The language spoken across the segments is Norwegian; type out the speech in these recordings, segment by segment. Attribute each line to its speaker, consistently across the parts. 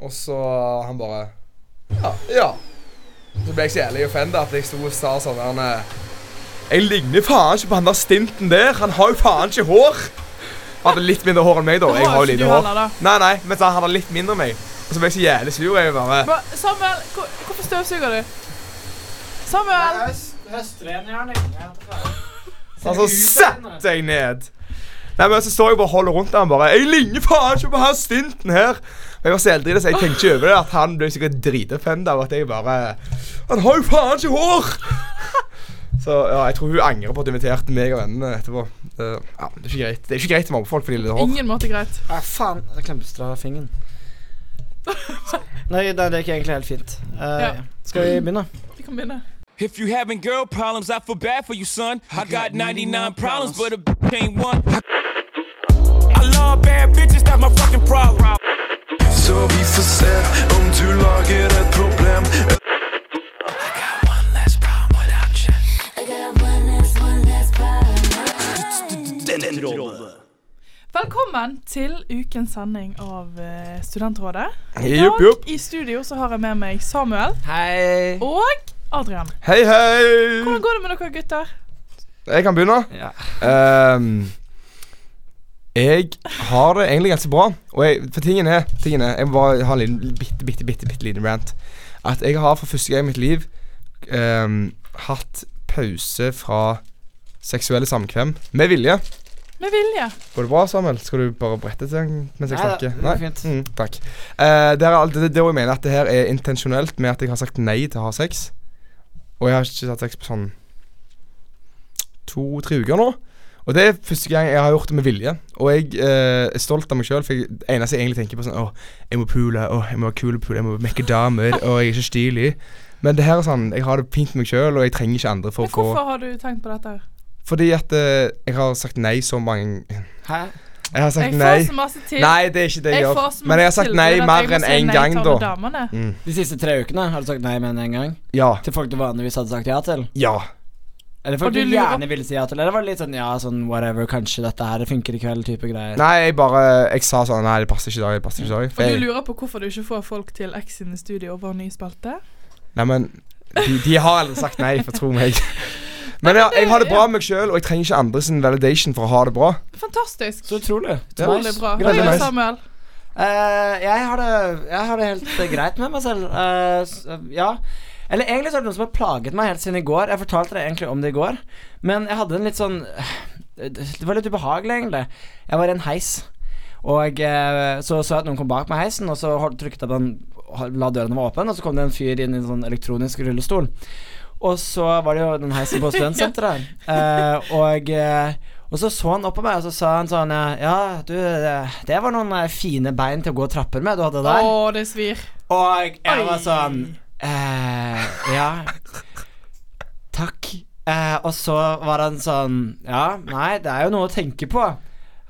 Speaker 1: Og så han bare Ja. ja. Så ble jeg så jævlig offenda at jeg sto og sa sånn han, eh, Jeg ligner faen ikke på han der stinten der. Han har jo faen ikke hår. Han hadde litt mindre hår enn meg, da. Jeg har jo
Speaker 2: ikke du
Speaker 1: lite hår.
Speaker 2: heller, da.
Speaker 1: Nei, nei, men så han hadde litt mindre enn meg. Og så ble jeg så jævlig sur. Jeg bare
Speaker 2: Hva- Samuel, hvor, hvorfor støvsuger du? Samuel!
Speaker 3: Høstrengjern.
Speaker 1: Altså, sett deg ned! Nei, men Så står jeg bare og holder rundt han bare. 'Jeg ligner faen ikke på han stinten her!' Og Jeg var så eldre, så jeg tenkte ikke over det at han ble sikkert dritoffenda av at jeg bare 'Han har jo faen ikke hår!' Så ja, jeg tror hun angrer på at hun inviterte meg og vennene etterpå. Det, ja, det er ikke greit Det er ikke greit å mobbe folk fordi de har hår.
Speaker 2: Ingen måte greit.
Speaker 3: Ja, faen. Jeg klemstra fingeren. Nei, nei, det gikk egentlig helt fint. Eh,
Speaker 2: Ja.
Speaker 3: Skal vi begynne?
Speaker 2: Vi kan begynne.
Speaker 4: If you having girl problems, I feel bad for you, son. I got 99 problems, but a bitch ain't one. I love bad bitches, that's my fucking problem.
Speaker 5: Så vi får se om du lager et problem.
Speaker 2: Velkommen til ukens sending av eh, Studentrådet. I
Speaker 1: Jupp,
Speaker 2: dag
Speaker 1: jupp.
Speaker 2: i studio så har jeg med meg Samuel
Speaker 3: Hei.
Speaker 2: og Adrian.
Speaker 1: Hei, hei!
Speaker 2: Hvordan går det med dere gutter?
Speaker 1: Jeg kan begynne.
Speaker 3: Ja.
Speaker 1: Ehm, jeg har det egentlig ganske bra. Og jeg, for tingen er, tingen er Jeg må bare ha en liten, bitte, bitte, bitte, bitte liten rant. At jeg har for første gang i mitt liv ehm, hatt pause fra seksuelle samkvem med vilje.
Speaker 2: Med vilje.
Speaker 1: Går det bra, Samuel? Skal du bare brette til den mens jeg
Speaker 3: Nei da,
Speaker 1: snakker?
Speaker 3: det går fint.
Speaker 1: Mm, takk. Eh, det, er, alt- det, det, er jo jeg mener at det her er intensjonelt med at jeg har sagt nei til å ha sex. Og jeg har ikke hatt sex på sånn to-tre uker nå. Og det er første gang jeg har gjort det med vilje. Og jeg eh, er stolt av meg sjøl, for jeg, det eneste jeg egentlig tenker på sånn Å, jeg må pule, å, jeg må være kul og pule, jeg må mekke damer, og jeg er ikke stilig. Men det her er sånn, jeg har det fint med meg sjøl, og jeg trenger ikke andre for
Speaker 2: Men
Speaker 1: å få
Speaker 2: hvorfor har du tenkt på dette? her?
Speaker 1: Fordi at eh, jeg har sagt nei så mange
Speaker 3: Hæ?
Speaker 1: Jeg har sagt
Speaker 2: Jeg
Speaker 1: nei.
Speaker 2: får så masse til.
Speaker 1: Nei, det er ikke det jeg,
Speaker 2: jeg får
Speaker 1: gjør.
Speaker 2: så
Speaker 1: Men jeg har
Speaker 2: masse
Speaker 1: sagt
Speaker 2: tilbud
Speaker 1: nei
Speaker 2: at jeg
Speaker 1: mer
Speaker 2: må
Speaker 1: enn
Speaker 2: si
Speaker 1: én
Speaker 2: nei
Speaker 1: gang,
Speaker 2: til alle
Speaker 1: da. Mm.
Speaker 2: damene.
Speaker 3: De siste tre ukene har du sagt nei med en gang?
Speaker 1: Ja.
Speaker 3: Til folk du vanligvis hadde sagt ja til?
Speaker 1: Ja.
Speaker 3: Eller
Speaker 2: Og
Speaker 3: folk du
Speaker 2: du lurer-
Speaker 3: gjerne ville si ja til? Eller var det litt sånn ja, sånn whatever, kanskje dette her funker i kveld, type greier?
Speaker 1: Nei, jeg bare Jeg sa sånn Nei, det passer ikke i dag. Det passer ikke i dag.
Speaker 2: Og
Speaker 1: For
Speaker 2: du
Speaker 1: jeg,
Speaker 2: lurer på hvorfor du ikke får folk til X sine studio og vår nye spalte?
Speaker 1: nei, men de, de har allerede sagt nei, for tro meg. Men ja, jeg har det bra med meg sjøl, og jeg trenger ikke andres validation for å ha det bra.
Speaker 2: Fantastisk.
Speaker 3: Så utrolig.
Speaker 2: Utrolig bra.
Speaker 1: Greit,
Speaker 2: Hva gjør
Speaker 1: nice.
Speaker 2: du, Samuel?
Speaker 3: Eh, jeg, har det, jeg har det helt eh, greit med meg selv. Eh, s- eh, ja. Eller egentlig så er det noe som har plaget meg helt siden i går. Jeg fortalte deg egentlig om det i går, men jeg hadde en litt sånn eh, Det var litt ubehagelig, egentlig. Jeg var i en heis, og eh, så så jeg at noen kom bak meg i heisen, og så hold- trykket jeg på den hold- La dørene være åpen, og så kom det en fyr inn i en sånn elektronisk rullestol. Og så var det jo den heisen på studentsenteret. her. Eh, og, eh, og så så han opp på meg, og så sa han sånn eh, Ja, du, eh, det var noen eh, fine bein til å gå trapper med du hadde
Speaker 2: Å,
Speaker 3: der.
Speaker 2: det svir.
Speaker 3: Og jeg
Speaker 2: Oi.
Speaker 3: var sånn eh, Ja. Takk. Eh, og så var han sånn Ja, nei, det er jo noe å tenke på.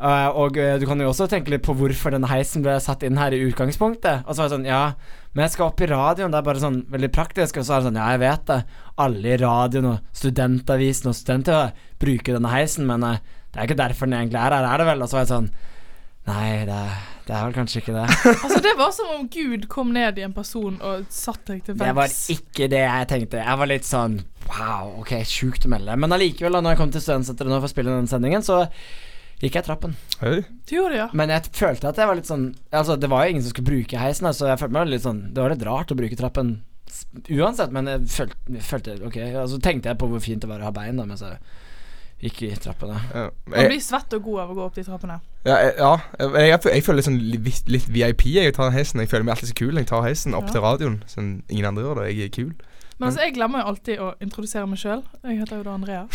Speaker 3: Eh, og eh, du kan jo også tenke litt på hvorfor denne heisen ble satt inn her i utgangspunktet. Og så var det sånn Ja, men jeg skal opp i radioen. Det er bare sånn veldig praktisk. Og så er det sånn Ja, jeg vet det. Alle i radioen og studentavisen og studenter bruker denne heisen, men eh, det er ikke derfor den egentlig er her, er det vel? Og så var jeg sånn Nei, det, det er vel kanskje ikke det.
Speaker 2: Altså, det var som om Gud kom ned i en person og satte deg til
Speaker 3: Det var
Speaker 2: veggs.
Speaker 3: ikke det jeg tenkte. Jeg var litt sånn wow, ok, sjukt å melde. Men allikevel, da når jeg kom til studentsenteret nå for å spille denne sendingen, så gikk jeg trappen.
Speaker 1: Oi.
Speaker 2: Du gjorde det, ja.
Speaker 3: Men jeg følte at jeg var litt sånn Altså, det var jo ingen som skulle bruke heisen, da, så jeg følte meg litt sånn Det var litt rart å bruke trappen s- uansett, men jeg følte, følte Ok, og så tenkte jeg på hvor fint det var å ha bein, da, mens jeg gikk i trappene.
Speaker 1: Ja,
Speaker 2: Man
Speaker 1: jeg,
Speaker 2: blir svett og god av å gå opp de trappene.
Speaker 1: ja, jeg, ja. Jeg, jeg, jeg føler litt sånn litt, litt VIP jeg tar den heisen. Jeg føler meg alltid så kul. Jeg tar heisen opp
Speaker 2: Ja.
Speaker 1: til radioen. Sånn, ingen andre gjør det. Jeg er kul.
Speaker 2: Men altså, jeg glemmer jo alltid å introdusere meg sjøl. Jeg heter jo da Andrea.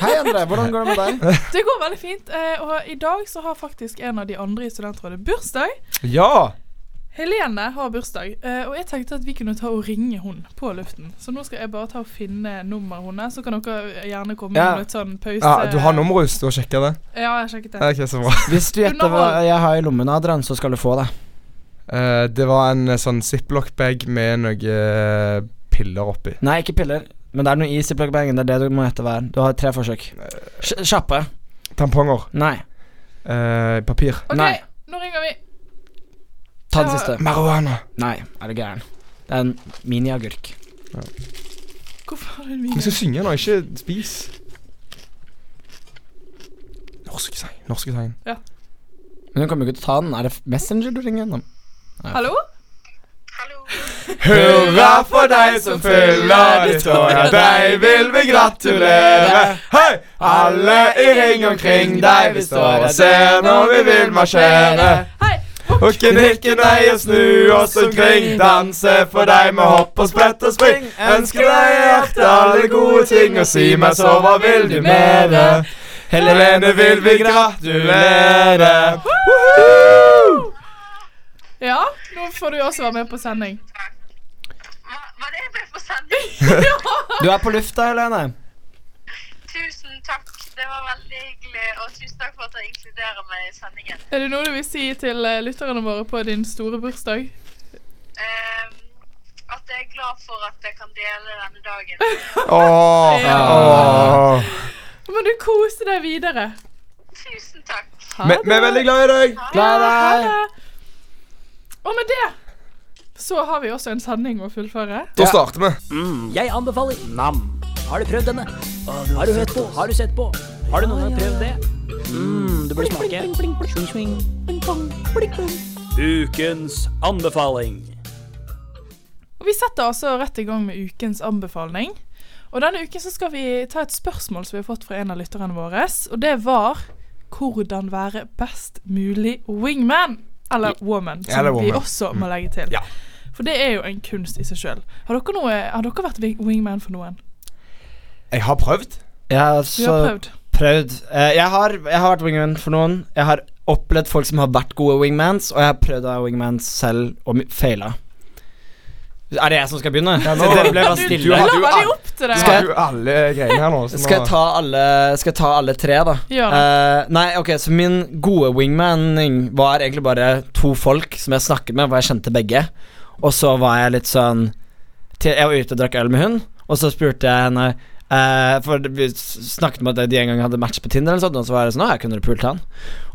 Speaker 3: Hei, André, hvordan går det med deg?
Speaker 2: Det går veldig fint. eh, Og i dag så har faktisk en av de andre i studentrådet bursdag.
Speaker 1: Ja!
Speaker 2: Helene har bursdag, eh, og jeg tenkte at vi kunne ta og ringe hun på luften. Så nå skal jeg bare ta og finne nummeret hennes, så kan dere gjerne komme
Speaker 3: Ja.
Speaker 2: med litt sånn pause.
Speaker 1: ja du har Eh, nummeret hennes. Du har sjekka det?
Speaker 2: Ja, jeg har sjekket
Speaker 1: Ja,
Speaker 2: det.
Speaker 1: Ok, så bra.
Speaker 3: Hvis du gjetter hva jeg har i lommen, Adrian, så skal du få det.
Speaker 1: Eh, det var en eh, sånn ziplock-bag med noen eh, piller oppi.
Speaker 3: Nei, ikke piller. Men det er noe is i pluggebengen. Det er det du må gjette hva er. Du har tre forsøk. Sj- Kjappe.
Speaker 1: Tamponger.
Speaker 3: Nei.
Speaker 1: Eh, papir.
Speaker 2: OK,
Speaker 3: Nei.
Speaker 2: nå ringer vi.
Speaker 3: Ta den siste.
Speaker 1: Marihuana.
Speaker 3: Nei, er du gæren. Det er en miniagurk.
Speaker 2: Hvorfor har du en
Speaker 1: Vi
Speaker 2: video?
Speaker 1: skal synge nå, ikke spis. Norske tegn. Norske tegn.
Speaker 3: Men hun kommer jo ikke til å ta den. Er det Messenger du ringer gjennom?
Speaker 2: Hallo?
Speaker 1: Hurra for deg som fyller ditt år, ja, deg vil vi gratulere. Hei! Alle i ring omkring deg, vi står og ser når vi vil marsjere.
Speaker 2: Hei!
Speaker 1: Hooke, nikke, nei og snu oss omkring, danse for deg med hopp og sprett og spring. Ønsker deg i hjertet alle gode ting, og si meg så, hva vil du mere? Helene vil vi gratulere. Woohoo!
Speaker 2: Ja, nå får du også være med på sending.
Speaker 6: Hva, hva er det jeg ble for sending?
Speaker 3: Du er på lufta, Helene.
Speaker 6: Tusen takk. Det var veldig hyggelig. Og tusen takk for at dere inkluderer meg i sendingen.
Speaker 2: Er det noe du vil si til eh, lytterne våre på din store bursdag?
Speaker 6: Ehm, at jeg er glad for at jeg kan dele denne dagen.
Speaker 1: Åh,
Speaker 3: Ja.
Speaker 1: åh.
Speaker 2: Må du kose deg videre.
Speaker 6: Tusen takk.
Speaker 2: Ha
Speaker 1: Vi vi er veldig glad i deg.
Speaker 3: Glad i
Speaker 2: Ha
Speaker 3: deg.
Speaker 2: det. Og med det så har vi også en sending å fullføre.
Speaker 1: Da starter vi.
Speaker 7: Jeg anbefaler Nam. Har du prøvd denne? Har du hørt på? Har du sett på? Har du noen gang prøvd det? Mm, du burde smake. Swing, swing. Ukens anbefaling.
Speaker 2: Og Vi setter altså rett i gang med ukens anbefaling. Og Denne uken så skal vi ta et spørsmål som vi har fått fra en av lytterne våre. Og det var hvordan være best mulig wingman. Eller woman, som
Speaker 1: Eller
Speaker 2: vi
Speaker 1: woman. Mm.
Speaker 2: også må legge til.
Speaker 1: Ja.
Speaker 2: For det er jo en kunst i seg sjøl. Har, dere noe- har dere vært wing- wingman for noen?
Speaker 1: Jeg har prøvd.
Speaker 3: Jeg har
Speaker 2: Du har
Speaker 3: så
Speaker 2: prøvd.
Speaker 3: prøvd. Eh, Jeg har, jeg har vært wingman for noen. Jeg har opplevd folk som har vært gode wingmans, og jeg har prøvd å være wingman selv og mi- faila. Er det jeg som skal begynne?
Speaker 1: Ja, nå-
Speaker 3: det ble bare
Speaker 1: Du
Speaker 3: stille.
Speaker 1: har-
Speaker 2: La
Speaker 1: du
Speaker 2: veldig
Speaker 1: al-
Speaker 2: opp til deg.
Speaker 1: Nå
Speaker 3: Skal
Speaker 1: har
Speaker 3: jeg-
Speaker 1: du alle greiene her nå. så nå-
Speaker 3: Skal jeg ta alle, skal jeg ta alle tre, da?
Speaker 2: Gjør det.
Speaker 3: Eh, nei, ok, så min gode wingmaning var egentlig bare to folk som jeg snakket med, hvor jeg kjente begge. Og så var jeg litt sånn til, Jeg var ute og drakk øl med hun, og så spurte jeg henne eh, For vi s- snakket om at de en gang hadde match på Tinder, eller sånt, og så var jeg sånn Å, jeg kunne du pult han?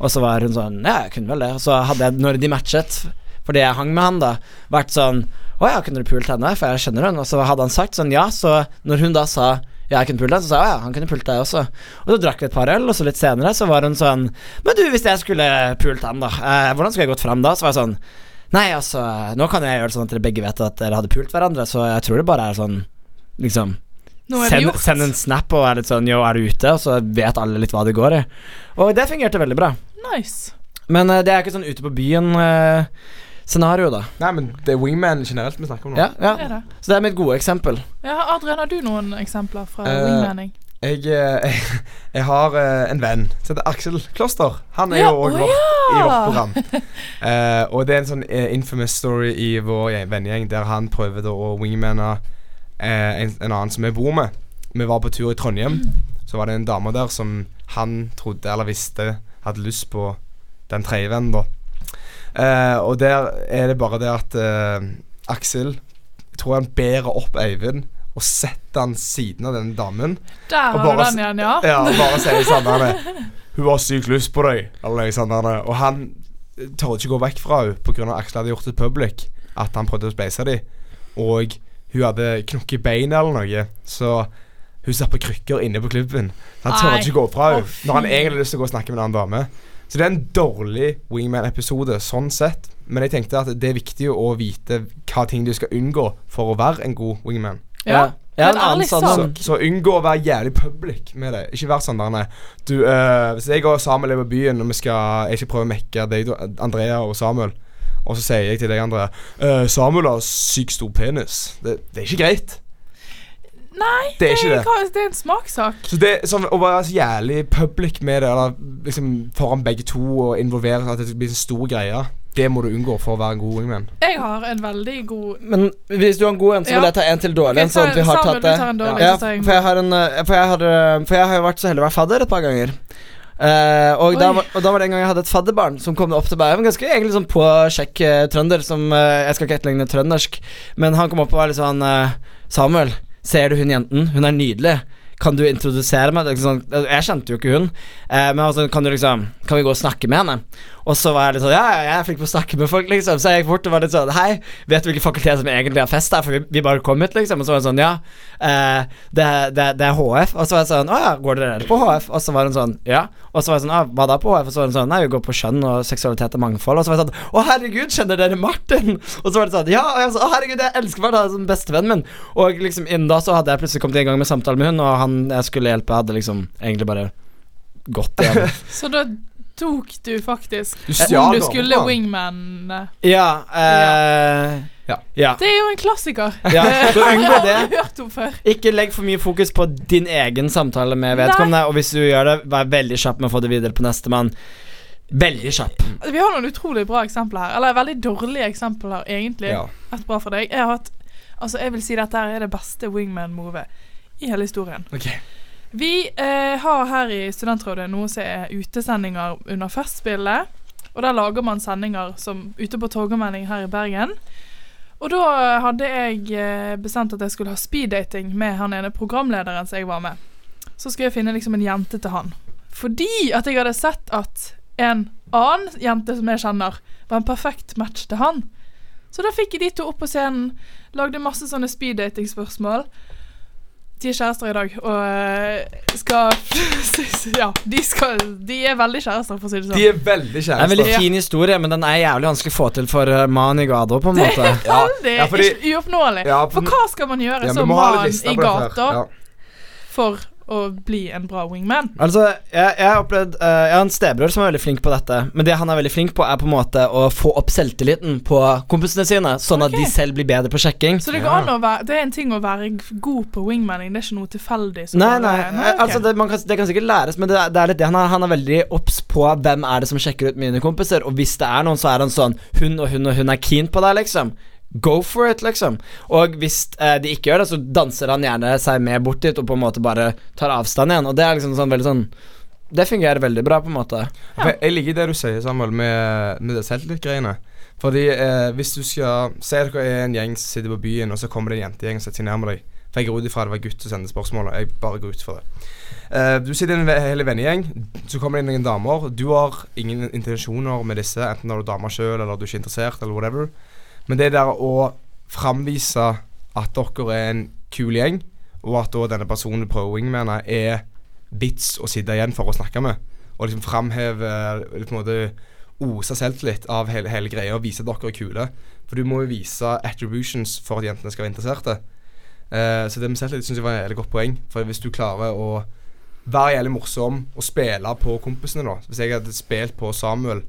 Speaker 3: Og så var hun sånn Ja, jeg kunne vel det. Og så hadde jeg, når de matchet, fordi jeg hang med han, da, vært sånn Å ja, kunne du pult henne? For jeg kjenner hun. Og så hadde han sagt sånn ja, så når hun da sa ja, jeg kunne pult deg, så sa jeg ja, han kunne pult deg også. Og så drakk vi et par øl, og så litt senere så var hun sånn Men du, hvis jeg skulle pult han, da, eh, hvordan skulle jeg gått fram da? Så var jeg sånn Nei, altså, nå kan jeg gjøre det sånn at dere begge vet at dere hadde pult hverandre, så jeg tror det bare er sånn Liksom
Speaker 2: Nå er det
Speaker 3: send,
Speaker 2: gjort.
Speaker 3: send en snap og er litt sånn Yo, er du ute? Og så vet alle litt hva det går i. Og det fungerte veldig bra.
Speaker 2: Nice.
Speaker 3: Men eh, det er ikke sånn ute på byen-scenario, da.
Speaker 1: Nei, men det er wingman generelt vi snakker om nå.
Speaker 3: Ja,
Speaker 2: Det er
Speaker 3: ja.
Speaker 2: det.
Speaker 3: Så det er mitt gode eksempel.
Speaker 2: Ja, Adrian, har du noen eksempler fra
Speaker 1: Eh,
Speaker 2: wingmaning?
Speaker 1: Jeg, eh, jeg, jeg har eh, en venn som heter Aksel Kloster. Han er
Speaker 2: Ja,
Speaker 1: jo òg
Speaker 2: å
Speaker 1: vår, i vårt
Speaker 2: ja!
Speaker 1: program. Eh, og det er en sånn eh, infamous story i vår gjeng- vennegjeng der han prøver da å wingmanne eh, en, en annen som vi bor med. Vi var på tur i Trondheim. Så var det en dame der som han trodde eller visste hadde lyst på den tredje vennen, da. Eh, og der er det bare det at eh, Aksel jeg tror han bærer opp Øyvind og setter han siden av den damen.
Speaker 2: Der
Speaker 1: og
Speaker 2: har du
Speaker 1: bare
Speaker 2: den igjen, ja.
Speaker 1: Ja, bare sier sånn der, Hun har sykt lyst på deg Eller noe sånt der, Og han tørde ikke gå vekk fra henne På grunn av at Aksel hadde gjort det public At han prøvde å speise dem Og hun hadde knokket bein eller noe Så hun satt på krykker inne på klubben Så han
Speaker 2: Nei.
Speaker 1: tørde ikke gå fra
Speaker 2: Å,
Speaker 1: henne
Speaker 2: fy.
Speaker 1: Når han egentlig hadde lyst til å gå og snakke med en annen dame Så det er en dårlig Wingman-episode Sånn sett Men jeg tenkte at det er viktig å vite Hva ting du skal unngå For å være en god Wingman
Speaker 2: Ja.
Speaker 3: Jeg har
Speaker 2: Men
Speaker 3: en annen
Speaker 2: ærlig
Speaker 3: sånn
Speaker 1: så,
Speaker 2: sak.
Speaker 1: så unngå å være jævlig public med det. Ikke vær sånn der, nei. Du, eh, hvis jeg og Samuel er på byen, og vi skal, jeg skal prøve å mekke deg, du- Andrea og Samuel, og så sier jeg til deg, Andrea eh, Samuel har sykt stor penis. Det, det er ikke greit.
Speaker 2: Nei,
Speaker 1: Det er ikke det.
Speaker 2: hva- det er en smaksak.
Speaker 1: Så det sånn, Å være så jævlig public med det, eller liksom foran begge to og involvere at det blir en stor greie, det må du unngå for å være en god wingman.
Speaker 2: Jeg har en veldig god
Speaker 3: Men hvis du har en god en, så
Speaker 2: Ja.
Speaker 3: vil jeg ta en til
Speaker 2: Ok,
Speaker 3: dårlig. en, sånn at vi har
Speaker 2: Samuel,
Speaker 3: tatt
Speaker 2: du
Speaker 3: det
Speaker 2: tar en dårlig,
Speaker 3: ja,
Speaker 2: så tar jeg en
Speaker 3: for, jeg har en, eh, for, jeg har, eh, for jeg har jo vært så heldig å være fadder et par ganger. Eh, og, da
Speaker 2: Oi.
Speaker 3: var, og da var det en gang jeg hadde et fadderbarn som kom opp til meg. Han var ganske egentlig sånn på sjekk eh, trønder. Som, eh, jeg skal ikke etterligne trøndersk, men han kom opp og var litt sånn eh, Samuel, ser du hun jenten? Hun er nydelig. Kan du introdusere meg? Det er Liksom, sånn- jeg kjente jo ikke hun. Eh, men altså, kan du liksom Kan vi gå og snakke med henne? Og så var jeg litt sånn Ja, ja, jeg er flink på å snakke med folk, liksom. Så jeg gikk bort og var litt sånn Hei, vet du hvilken fakultet som egentlig har fest her? For vi, vi bare kom hit, liksom. Og så var hun sånn Ja, eh, det, det, det er HF. Og så var jeg sånn Å ja, går dere på HF? Og så var hun sånn Ja. Og så var jeg sånn «Ah, Hva da på HF? Og så var hun sånn Nei, vi går på kjønn og seksualitet og mangfold. Og så var jeg sånn Å herregud, kjenner dere Martin? Og så var det sånn Ja, og jeg sa Å herregud, jeg elsker Martin, han er som bestevennen min. Og liksom innen da så hadde jeg plutselig kommet i gang med samtalen med hun, og han jeg skulle hjelpe, hadde liksom egentlig bare gått igjen.
Speaker 2: Så da tok du faktisk
Speaker 1: Du
Speaker 2: Eh, om
Speaker 1: stjal
Speaker 2: du skulle
Speaker 1: damen.
Speaker 2: wingman.
Speaker 3: ja, eh,
Speaker 1: Ja.
Speaker 3: ja.
Speaker 2: Det er jo en klassiker.
Speaker 3: Ja, så unngå
Speaker 2: Jeg har
Speaker 3: det.
Speaker 2: aldri hørt om før.
Speaker 3: Ikke legg for mye fokus på din egen samtale med vedkommende, og hvis du gjør det, vær veldig kjapp med å få det videre på nestemann. Veldig kjapp.
Speaker 2: Vi har noen utrolig bra eksempler her. Eller veldig dårlige eksempler, egentlig.
Speaker 1: Ja.
Speaker 2: Et bra for deg. Jeg har hatt Altså, jeg vil si dette her er det beste wingman-movet i hele historien.
Speaker 1: Ok.
Speaker 2: Vi eh, har her i Studentrådet noe som er utesendinger under Festspillet. Og der lager man sendinger som ute på Torgallmenning her i Bergen. Og da hadde jeg eh, bestemt at jeg skulle ha speeddating med han ene programlederen som jeg var med. Så skulle jeg finne liksom en jente til han. Fordi at jeg hadde sett at en annen jente som jeg kjenner, var en perfekt match til han. Så da fikk jeg de to opp på scenen, lagde masse sånne speeddatingspørsmål. De er kjærester i dag, og eh, skal Ja, de, skal, de er veldig kjærester, for å si det sånn.
Speaker 1: De er veldig
Speaker 3: Det er en veldig
Speaker 1: kjærester.
Speaker 2: Ja.
Speaker 3: fin historie, men den er jævlig vanskelig å få til for uh, Mani Gado, på en måte.
Speaker 1: Ja,
Speaker 2: Det er
Speaker 1: ja, fordi,
Speaker 2: ikke uoppnåelig.
Speaker 1: Ja,
Speaker 2: for
Speaker 1: men-
Speaker 2: hva skal man gjøre
Speaker 1: ja, vi
Speaker 2: som
Speaker 1: må ha litt
Speaker 2: mann
Speaker 1: lister
Speaker 2: i
Speaker 1: på dette her.
Speaker 2: gata
Speaker 1: Ja.
Speaker 2: for å bli en bra wingman?
Speaker 3: Altså, jeg, jeg har opplevd eh, Jeg har en stebror som er veldig flink på dette. Men det han er veldig flink på, er på en måte å få opp selvtilliten på kompisene sine, sånn
Speaker 2: Ok.
Speaker 3: at de selv blir bedre på sjekking.
Speaker 2: Så det går an å være Det er en ting å være g- god på wingmanning, det er ikke noe tilfeldig. som
Speaker 3: Nei,
Speaker 2: bare-
Speaker 3: nei, eh,
Speaker 2: ok.
Speaker 3: altså det, man kan, det kan sikkert læres, men det, er- det er litt det han er. Han er veldig obs på hvem er det som sjekker ut mine kompiser, og hvis det er noen, så er han sånn Hun og hun og hun er keen på deg, liksom. Go for it, liksom. Og hvis eh, de ikke gjør det, så danser han gjerne seg med bort dit, og på en måte bare tar avstand igjen. Og det er liksom sånn veldig sånn Det fungerer veldig bra, på en måte.
Speaker 1: For jeg liker det du sier, Samuel, med, med det selvtillit-greiene. Fordi eh, hvis du skal Si dere er en gjeng som sitter på byen, og så kommer det en jentegjeng og setter seg nærmere deg. For jeg går ut ifra det var gutt som sendte spørsmålet. Jeg bare går ut fra det. Eh, du sitter i en ve- hel vennegjeng, så kommer det inn noen damer. Du har ingen intensjoner med disse, enten er du dame sjøl, eller du er ikke interessert, eller whatever. Men det der å framvise at dere er en kul gjeng, og at da denne personen du prøver å wingmane, er vits å sitte igjen for å snakke med. Og liksom framheve eller på en måte Ose selvtillit av hele, hele greia og vise at dere er kule. For du må jo vise attributions for at jentene skal være interesserte. Eh, så det med selvtillit syns jeg var et veldig godt poeng. For hvis du klarer å være jævlig morsom og spille på kompisene, da Hvis jeg hadde spilt på Samuel,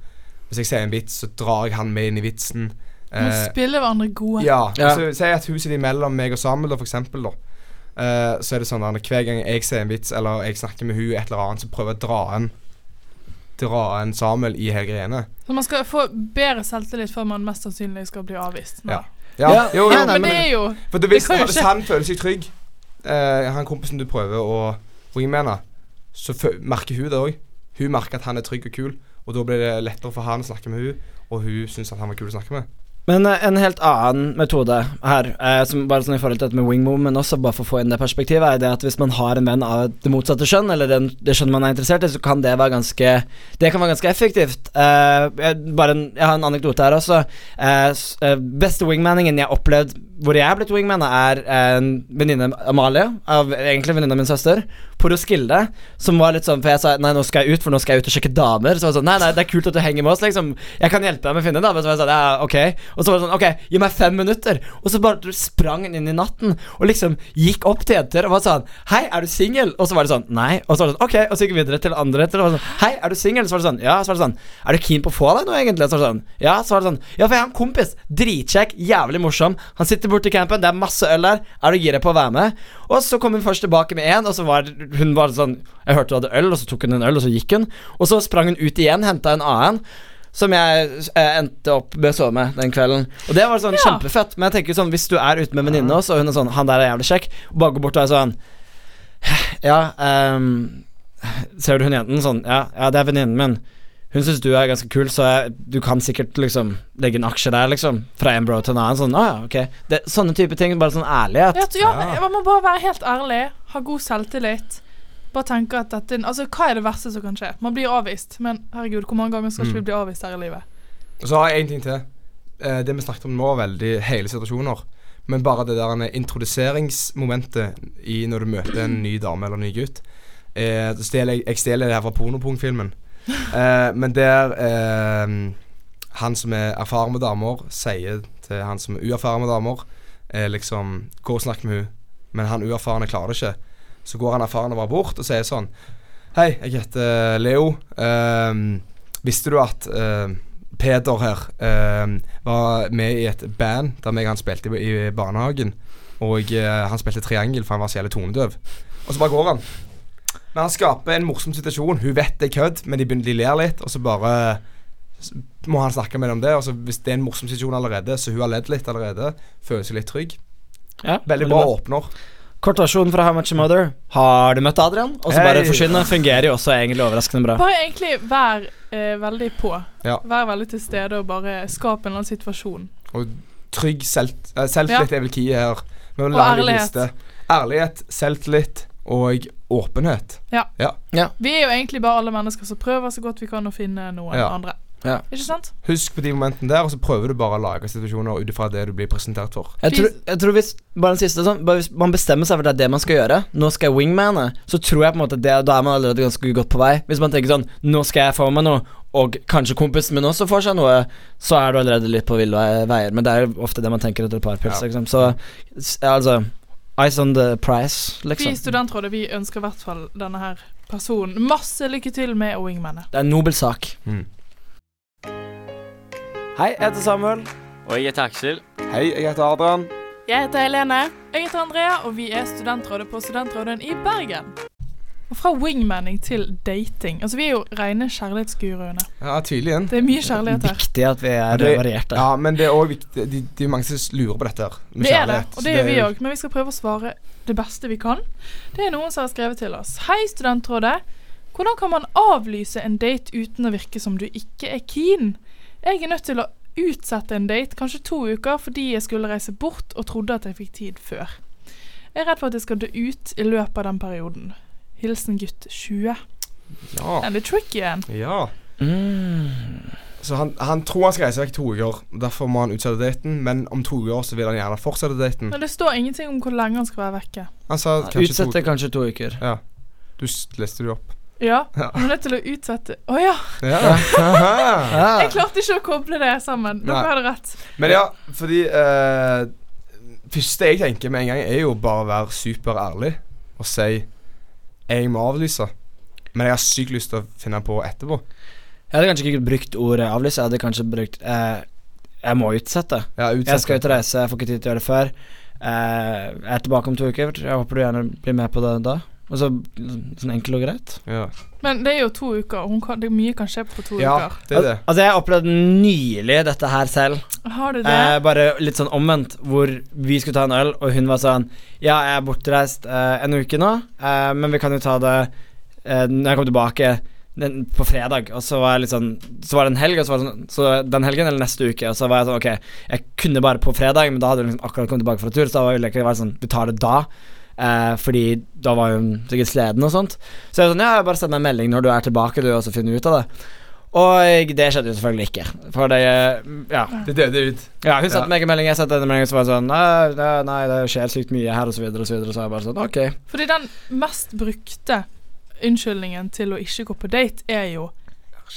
Speaker 1: hvis jeg sier en vits, så drar jeg han med inn i vitsen.
Speaker 2: Man
Speaker 1: Eh,
Speaker 2: spiller hverandre gode.
Speaker 1: ja,
Speaker 3: Ja.
Speaker 1: altså Si at huset er mellom meg og Samuel, da, for eksempel. Da. Eh, så er det sånn at hver gang jeg ser en vits eller jeg snakker med hun et eller annet, så prøver jeg å dra en Dra en Samuel i hele greiene.
Speaker 2: Så man skal få bedre selvtillit før man mest sannsynlig skal bli avvist. Nei.
Speaker 1: Ja. Ja,
Speaker 3: Ja,
Speaker 1: jo, jo,
Speaker 3: ja, nei,
Speaker 2: Men det er jo
Speaker 1: For det, hvis
Speaker 2: det kan jo
Speaker 1: hvis
Speaker 2: skje.
Speaker 1: han føler seg trygg, eh, han kompisen du prøver å wingmane, så fø- merker hun det òg. Hun merker at han er trygg og kul, og da blir det lettere for han å snakke med hun, og hun syns at han var kul å snakke med.
Speaker 3: Men eh, en helt annen metode her, eh, som bare sånn i forhold til dette med wingmove, men også bare for å få inn det perspektivet, er det at hvis man har en venn av det motsatte kjønn, eller den, det kjønn man er interessert i, så kan det være ganske Det kan være ganske effektivt. Eh, jeg, bare en, jeg har en anekdote her også. Eh, s- eh, beste wingmanningen jeg har opplevd hvor jeg er blitt wingman, er en venninne, Amalie, av, egentlig venninna min søster, på Roskilde, som var litt sånn For jeg sa nei, nå skal jeg ut, for nå skal jeg ut og sjekke damer. Så var det sånn nei, nei, det er kult at du henger med oss, liksom. Jeg kan hjelpe deg med å finne en dame. Så var jeg sånn ja, ok. Og så var det sånn ok, gi meg fem minutter. Og så bare sprang hun inn i natten og liksom gikk opp til jenter og var sånn hei, er du singel? Og så var det sånn nei. Og så var det sånn ok, og så gikk vi videre til andre jenter og var sånn hei, er du singel? Så var det sånn ja, så var det sånn er du keen på å få deg noe egentlig? Så var det sånn ja, så var det sånn ja, for jeg har en kompis, dritkjekk, jævlig morsom, han sitter borte i campen, det er masse øl der, er du gira på å være med? Og så kom hun først tilbake med en, og så var hun bare sånn Jeg hørte hun hadde øl, og så tok hun en øl, og så gikk hun. Og så sprang hun ut igjen, henta en annen. Som jeg eh, endte opp med å sove med den kvelden. Og det var sånn
Speaker 2: Ja.
Speaker 3: kjempefett. Men jeg tenker sånn hvis du er ute med en venninne også, og hun er sånn 'Han der er jævlig kjekk', og bare går bort og er sånn Ja, ehm, ser du hun jenten sånn Ja, ja det er venninnen min. Hun syns du er ganske kul, så jeg, du kan sikkert liksom legge en aksje der, liksom. Fra en bro til en annen. Sånn, ah, ja, ok. Det, sånne type ting. Bare sånn ærlighet.
Speaker 2: Vet du, ja,
Speaker 1: Ja.
Speaker 2: Man må bare være helt ærlig. ha god selvtillit. Bare tenke at dette Altså, hva er det verste som kan skje? Man blir avvist, men herregud, hvor mange ganger skal
Speaker 1: Mm.
Speaker 2: ikke vi bli avvist her i livet?
Speaker 1: Og så har jeg en ting til. Eh, Det vi snakket om nå, var veldig hele situasjoner. Men bare det der ene introduseringsmomentet i når du møter en ny dame eller en ny gutt eh, så stjeler jeg, jeg stjeler det her fra pornopung-filmen. Eh, men der eh, han som er erfaren med damer, sier til han som er uerfaren med damer eh, liksom Gå og snakk med hun Men han uerfarne klarer det ikke. Så går han erfarne bare bort og sier sånn Hei, jeg heter Leo. Ehm, visste du at ehm, Peder her ehm, var med i et band der meg og han spilte i, i barnehagen? Og eh, han spilte triangel, for han var så jævlig tonedøv. Og så bare går han. Men han skaper en morsom situasjon. Hun vet det er kødd, men de, begynner, de ler litt, og så bare s- må han snakke med dem om det. Og så hvis det er en morsom situasjon allerede, så hun har ledd litt allerede, føler seg litt trygg.
Speaker 3: Ja,
Speaker 1: Veldig bra åpner.
Speaker 3: Kortasjon fra How Much Your Mother. Har du møtt Adrian? Og så bare
Speaker 1: Hei.
Speaker 3: forsvinne. Fungerer jo også egentlig overraskende bra.
Speaker 2: Bare egentlig vær eh, veldig på.
Speaker 1: Ja.
Speaker 2: Vær veldig til stede og bare skap en eller annen situasjon.
Speaker 1: Og trygg selvt- eh, selvtillit er vel key her. Vi må
Speaker 2: Og
Speaker 1: lage en
Speaker 2: ærlighet.
Speaker 1: liste. Ærlighet, selvtillit og åpenhet.
Speaker 2: Vi er jo egentlig bare alle mennesker som prøver så godt vi kan å finne noen
Speaker 1: Ja.
Speaker 2: andre.
Speaker 3: Ja.
Speaker 2: Ikke sant?
Speaker 1: Husk på de momentene der, og så prøver du bare å lage situasjoner ut ifra det du blir presentert for.
Speaker 3: Jeg tror, jeg tror hvis, bare den siste, sånn, bare hvis man bestemmer seg for at det er det man skal gjøre, nå skal jeg wingmane, så tror jeg på en måte det, da er man allerede ganske godt på vei. Hvis man tenker sånn, nå skal jeg få meg noe, og kanskje kompisen min også får seg noe, så er du allerede litt på ville veier. Men det er jo ofte det man tenker etter et par
Speaker 1: Ja.
Speaker 3: pils, liksom. Så s- altså Eyes on the price,
Speaker 2: Vi i
Speaker 3: liksom.
Speaker 2: Studentrådet vi ønsker i hvert fall denne her personen masse lykke til med wingmanet.
Speaker 3: Det er en nobel sak.
Speaker 1: Mm.
Speaker 3: Hei, jeg heter Samuel.
Speaker 8: Og jeg heter Aksel.
Speaker 1: Hei, jeg heter Adrian.
Speaker 2: Jeg heter Helene. Jeg heter Andrea, og vi er Studentrådet på Studentråden i Bergen. Og fra wingmanning til dating. Altså, vi er jo rene kjærlighetsguruene.
Speaker 1: Ja, tydelig igjen.
Speaker 2: Det er mye kjærlighet her.
Speaker 3: Viktig at vi er
Speaker 1: Det-
Speaker 3: varierte.
Speaker 1: Ja, men det er òg viktig de- Det er mange som lurer på dette her. med
Speaker 2: Det er det,
Speaker 1: kjærlighet.
Speaker 2: og det gjør vi
Speaker 1: er-
Speaker 2: òg. Men vi skal prøve å svare det beste vi kan. Det er noen som har skrevet til oss. Hei, Studentrådet. Hvordan kan man avlyse en date uten å virke som du ikke er keen? Jeg er nødt til å utsette en date kanskje to uker fordi jeg skulle reise bort og trodde at jeg fikk tid før. Jeg er redd for at jeg skal dø ut i løpet av den perioden. Hilsen gutt 20.
Speaker 1: Ja.
Speaker 2: Den er litt tricky en.
Speaker 1: ja.
Speaker 3: Mm.
Speaker 1: Så han, han tror han skal reise vekk to uker, derfor må han utsette daten. Men om to uker så vil han gjerne fortsette daten.
Speaker 2: Men det står ingenting om hvor lenge han skal være vekke.
Speaker 1: Han sa kanskje
Speaker 3: Utsette kanskje to uker.
Speaker 1: to Du s- leste det jo opp.
Speaker 2: Ja,
Speaker 1: Ja.
Speaker 2: han er nødt til å utsette Å ja!
Speaker 1: Ja.
Speaker 2: Jeg klarte ikke å koble det sammen. Dere
Speaker 1: Nei.
Speaker 2: hadde rett.
Speaker 1: Men ja, fordi eh, Første jeg tenker med en gang, er jo bare å være superærlig og si Jeg må avlyse, men jeg har sykt lyst til å finne på etterpå.
Speaker 3: Jeg hadde kanskje ikke brukt ordet avlyse. Jeg hadde kanskje brukt eh, Jeg må utsette.
Speaker 1: Ja, utsett
Speaker 3: Jeg
Speaker 1: det.
Speaker 3: skal ut og reise, jeg får ikke tid til å gjøre det før. Eh, jeg er tilbake om to uker. Jeg håper du gjerne blir med på det da. Og så sånn enkelt og greit.
Speaker 1: Ja,
Speaker 2: Men det er jo to uker, og hun kan, det er mye kan skje på to
Speaker 1: ja
Speaker 2: uker.
Speaker 1: det er det.
Speaker 3: Altså, jeg opplevde nylig dette her selv.
Speaker 2: Har du det?
Speaker 3: Eh, bare litt sånn omvendt, hvor vi skulle ta en øl, og hun var sånn Ja, jeg er bortreist eh, en uke nå, eh, men vi kan jo ta det eh, når jeg kommer tilbake den, på fredag. Og så var jeg litt sånn Så var det en helg, og så var det sånn Så den helgen eller neste uke, og så var jeg sånn Ok, jeg kunne bare på fredag, men da hadde hun liksom akkurat kommet tilbake fra tur, så da ville jeg ikke være sånn Vi tar det da. Eh, fordi da var hun sikkert sleden og sånt. Så jeg var sånn Ja, bare send meg en melding når du er tilbake, du, og så finner vi ut av det. Og det skjedde jo selvfølgelig ikke. For det Ja.
Speaker 1: Det døde ut.
Speaker 3: Ja, hun sendte
Speaker 1: Ja.
Speaker 3: meg en melding, jeg sendte henne en melding, så var det sånn Nei, nei, nei det skjer sykt mye her, og så videre, og så videre. Så jeg bare sånn, ok.
Speaker 2: Fordi den mest brukte unnskyldningen til å ikke gå på date, er jo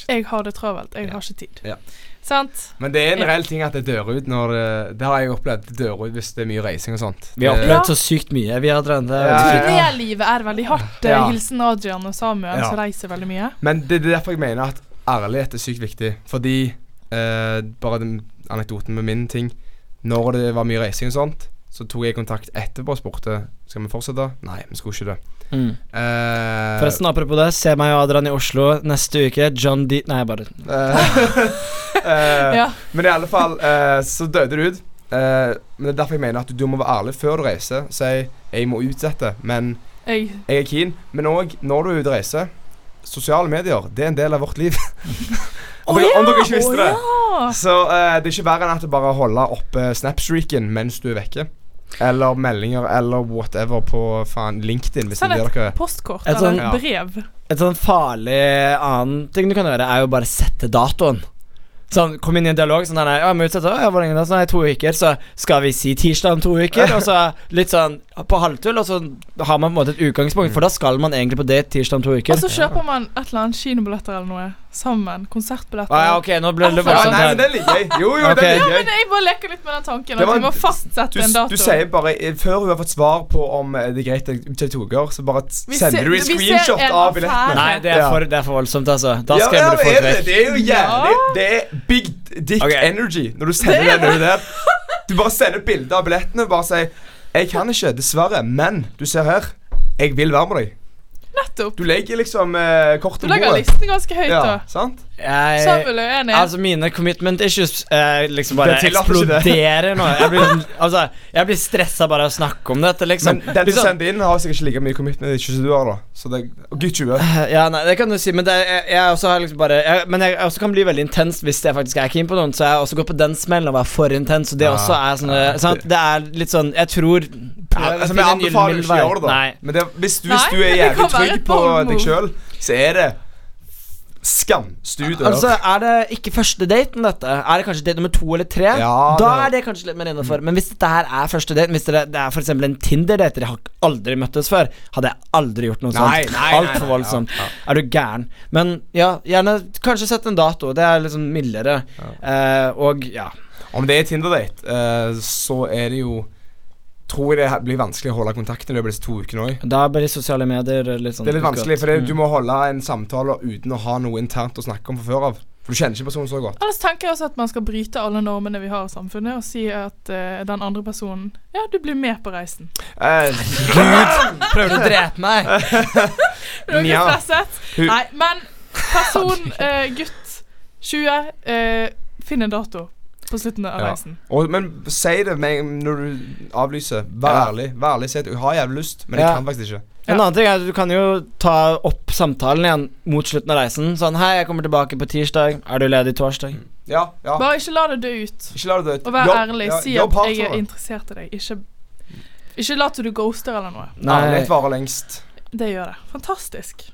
Speaker 2: 'Jeg har det travelt. Jeg har ikke tid'.
Speaker 1: Ja.
Speaker 2: Sant?
Speaker 1: Men det er en reell ting at det dør ut når det, det har jeg opplevd. Det dør ut hvis det er mye reising og sånt.
Speaker 3: Vi har
Speaker 1: Det-
Speaker 2: opplevd-
Speaker 3: opplevd så sykt mye, vi har drømt det. er
Speaker 1: Ja,
Speaker 3: veldig
Speaker 1: ja.
Speaker 3: sykt.
Speaker 2: Turnélivet er veldig hardt.
Speaker 1: Ja.
Speaker 2: Hilsen Adrian og Samuel,
Speaker 1: Ja.
Speaker 2: som reiser veldig mye.
Speaker 1: Men det, det er derfor jeg mener at ærlighet er sykt viktig. Fordi eh, Bare den anekdoten med min ting. Når det var mye reising og sånt, så tok jeg kontakt etterpå og spurte Skal vi fortsette. Nei, vi skulle ikke det.
Speaker 3: Mm.
Speaker 1: Eh,
Speaker 3: Forresten, apropos det, se meg og Adrian i Oslo neste uke. John D... Nei, bare
Speaker 1: eh, eh,
Speaker 2: Ja.
Speaker 1: Men i alle fall, eh, så døde det ut. Eh, men Det er derfor jeg mener at du, du må være ærlig før du reiser. Si 'jeg må utsette', men
Speaker 2: Jeg,
Speaker 1: jeg er keen. Men òg når du er ute og reiser. Sosiale medier det er en del av vårt liv. om, dere- om dere ikke visste det.
Speaker 2: Å, ja.
Speaker 1: Så eh, det er ikke verre enn at det bare holder oppe snapstreaken mens du er vekke. Eller meldinger eller whatever på faen LinkedIn, hvis
Speaker 2: Send
Speaker 1: det blir dere
Speaker 2: et postkort
Speaker 3: Et
Speaker 2: eller
Speaker 3: sånn-
Speaker 1: Ja.
Speaker 2: et brev.
Speaker 3: Et sånn farlig annen ting du kan gjøre, er jo bare sette datoen. Sånn, Kom inn i en dialog. sånn der, nei, ja, må utsette, «Å, ja, hvor lenge da? Sånn, nei, to uker. Så skal vi si tirsdag om to uker? Og så litt sånn på halvtull, og så har man på en måte et utgangspunkt, for da skal man egentlig på date tirsdag om to uker.
Speaker 2: Og så kjøper man et eller annet kinobilletter eller noe sammen. Konsertbilletter.
Speaker 3: ah, ja, ok, nå ble det
Speaker 1: Ja,
Speaker 2: Ja,
Speaker 3: voldsomt
Speaker 1: nei, men
Speaker 3: her.
Speaker 1: den liker jeg. Jo, jo,
Speaker 3: Ok.
Speaker 1: den
Speaker 2: sånn Ja,
Speaker 1: liker jeg.
Speaker 2: men jeg bare leker litt med den tanken.
Speaker 1: Det
Speaker 2: At
Speaker 1: var-
Speaker 2: vi må fastsette
Speaker 1: Du,
Speaker 2: en
Speaker 1: s-
Speaker 2: dato.
Speaker 1: du sier bare eh, Før hun har fått svar på om eh, det er greit det tar to uker, så bare t-
Speaker 2: Vi ser-
Speaker 1: sender du en
Speaker 2: vi ser
Speaker 1: screenshot
Speaker 2: en
Speaker 1: av
Speaker 2: affære.
Speaker 1: billettene.
Speaker 3: Nei, det er, for, det er for voldsomt, altså. Da
Speaker 1: Ja, ja,
Speaker 3: skremmer du
Speaker 1: men
Speaker 3: folk
Speaker 1: er det, det
Speaker 3: vekk.
Speaker 1: er jo jævlig
Speaker 2: Ja.
Speaker 1: Det er big dick
Speaker 3: Ok.
Speaker 1: energy når du sender den over der. Du bare sender bilder av billettene og bare sier 'Jeg kan ikke, dessverre, men du ser her. Jeg vil være med deg'.
Speaker 2: Nettopp.
Speaker 1: Du legger liksom eh,
Speaker 2: Du
Speaker 1: kortet på
Speaker 2: legger
Speaker 1: bordet.
Speaker 2: listen ganske høyt,
Speaker 1: Ja,
Speaker 2: da.
Speaker 1: sant? Eh,
Speaker 3: Jeg-
Speaker 2: Samuel er uenig.
Speaker 3: Altså Mine commitment issues eh, liksom bare
Speaker 1: Det tillater ikke det.
Speaker 3: eksploderer nå. Jeg blir, altså, jeg blir stressa bare av å snakke om dette, liksom.
Speaker 1: Men den som
Speaker 3: liksom
Speaker 1: sender inn, har sikkert ikke like mye commitment issues som du har, da. Så det og Gud 20.
Speaker 3: ja, nei, det kan du si, men det, jeg, jeg også har liksom bare jeg, Men jeg også kan bli veldig intens hvis jeg faktisk er keen på noen, så jeg har også gått på den smellen å være for intens, og det
Speaker 1: Ja.
Speaker 3: også er sånn sant? Det er litt sånn Jeg tror
Speaker 1: Ja,
Speaker 3: prøv å
Speaker 1: altså, men
Speaker 3: finne
Speaker 1: jeg
Speaker 3: en
Speaker 1: anbefaler
Speaker 3: gyllen
Speaker 1: jo ikke å
Speaker 3: middelvei.
Speaker 1: gjøre det, da.
Speaker 3: Nei.
Speaker 1: Men det, hvis, du,
Speaker 2: Nei,
Speaker 1: hvis du er
Speaker 2: det
Speaker 1: jævlig
Speaker 2: kan være
Speaker 1: trygg på
Speaker 2: et
Speaker 1: deg
Speaker 2: bold move.
Speaker 1: sjøl, så er det skamstudioer.
Speaker 3: Altså, er det ikke første daten, dette? Er det kanskje date nummer to eller tre?
Speaker 1: Ja,
Speaker 3: da
Speaker 1: det-
Speaker 3: er det kanskje litt mer innafor. Men hvis dette her er første date, hvis dere, det er f.eks. en Tinder-date dere har aldri møttes før, hadde jeg aldri gjort noe
Speaker 1: Nei, nei,
Speaker 3: sånt.
Speaker 1: nei, nei,
Speaker 3: Altfor voldsomt. Er du gæren? Men ja, gjerne kanskje sett en dato. Det er liksom mildere. Eh, og ja.
Speaker 1: Om det er Tinder-date, eh, så er det jo Tror jeg det blir vanskelig å holde kontakten i løpet av disse to ukene òg.
Speaker 3: Da blir sosiale medier litt sånn
Speaker 1: Det er litt vanskelig, for det,
Speaker 3: Mm.
Speaker 1: du må holde en samtale uten å ha noe internt å snakke om fra før av. For du kjenner ikke personen så godt.
Speaker 2: Ellers tenker jeg også at man skal bryte alle normene vi har i samfunnet, og si at eh, den andre personen Ja, du blir med på reisen.
Speaker 1: Eh,
Speaker 3: Prøver du å drepe meg?
Speaker 2: Er dere
Speaker 1: Nja.
Speaker 2: stresset?
Speaker 1: Hun-
Speaker 2: Nei, men person, eh, gutt, 20, eh, finn en dato på slutten av
Speaker 1: Ja.
Speaker 2: reisen.
Speaker 1: og, men si det med, når du avlyser. Vær
Speaker 3: Ja.
Speaker 1: ærlig. Vær ærlig, Si at 'jeg har jævlig lyst, men
Speaker 3: Ja.
Speaker 1: jeg kan faktisk ikke'.
Speaker 2: Ja.
Speaker 3: En annen ting er at Du kan jo ta opp samtalen igjen mot slutten av reisen. Sånn 'Hei, jeg kommer tilbake på tirsdag. Er du ledig torsdag?'
Speaker 1: Ja, ja.
Speaker 2: Bare ikke la det dø ut.
Speaker 1: Ikke la det dø ut.
Speaker 2: Og vær
Speaker 1: Ah. Jobb-
Speaker 2: ærlig.
Speaker 1: ja,
Speaker 2: Si
Speaker 1: jobb
Speaker 2: at
Speaker 1: hardt
Speaker 2: jeg
Speaker 1: for
Speaker 2: er
Speaker 1: det.
Speaker 2: interessert i deg. Ikke, ikke lat som du ghoster eller noe.
Speaker 1: Ærlighet varer lengst.
Speaker 2: Det gjør det. Fantastisk.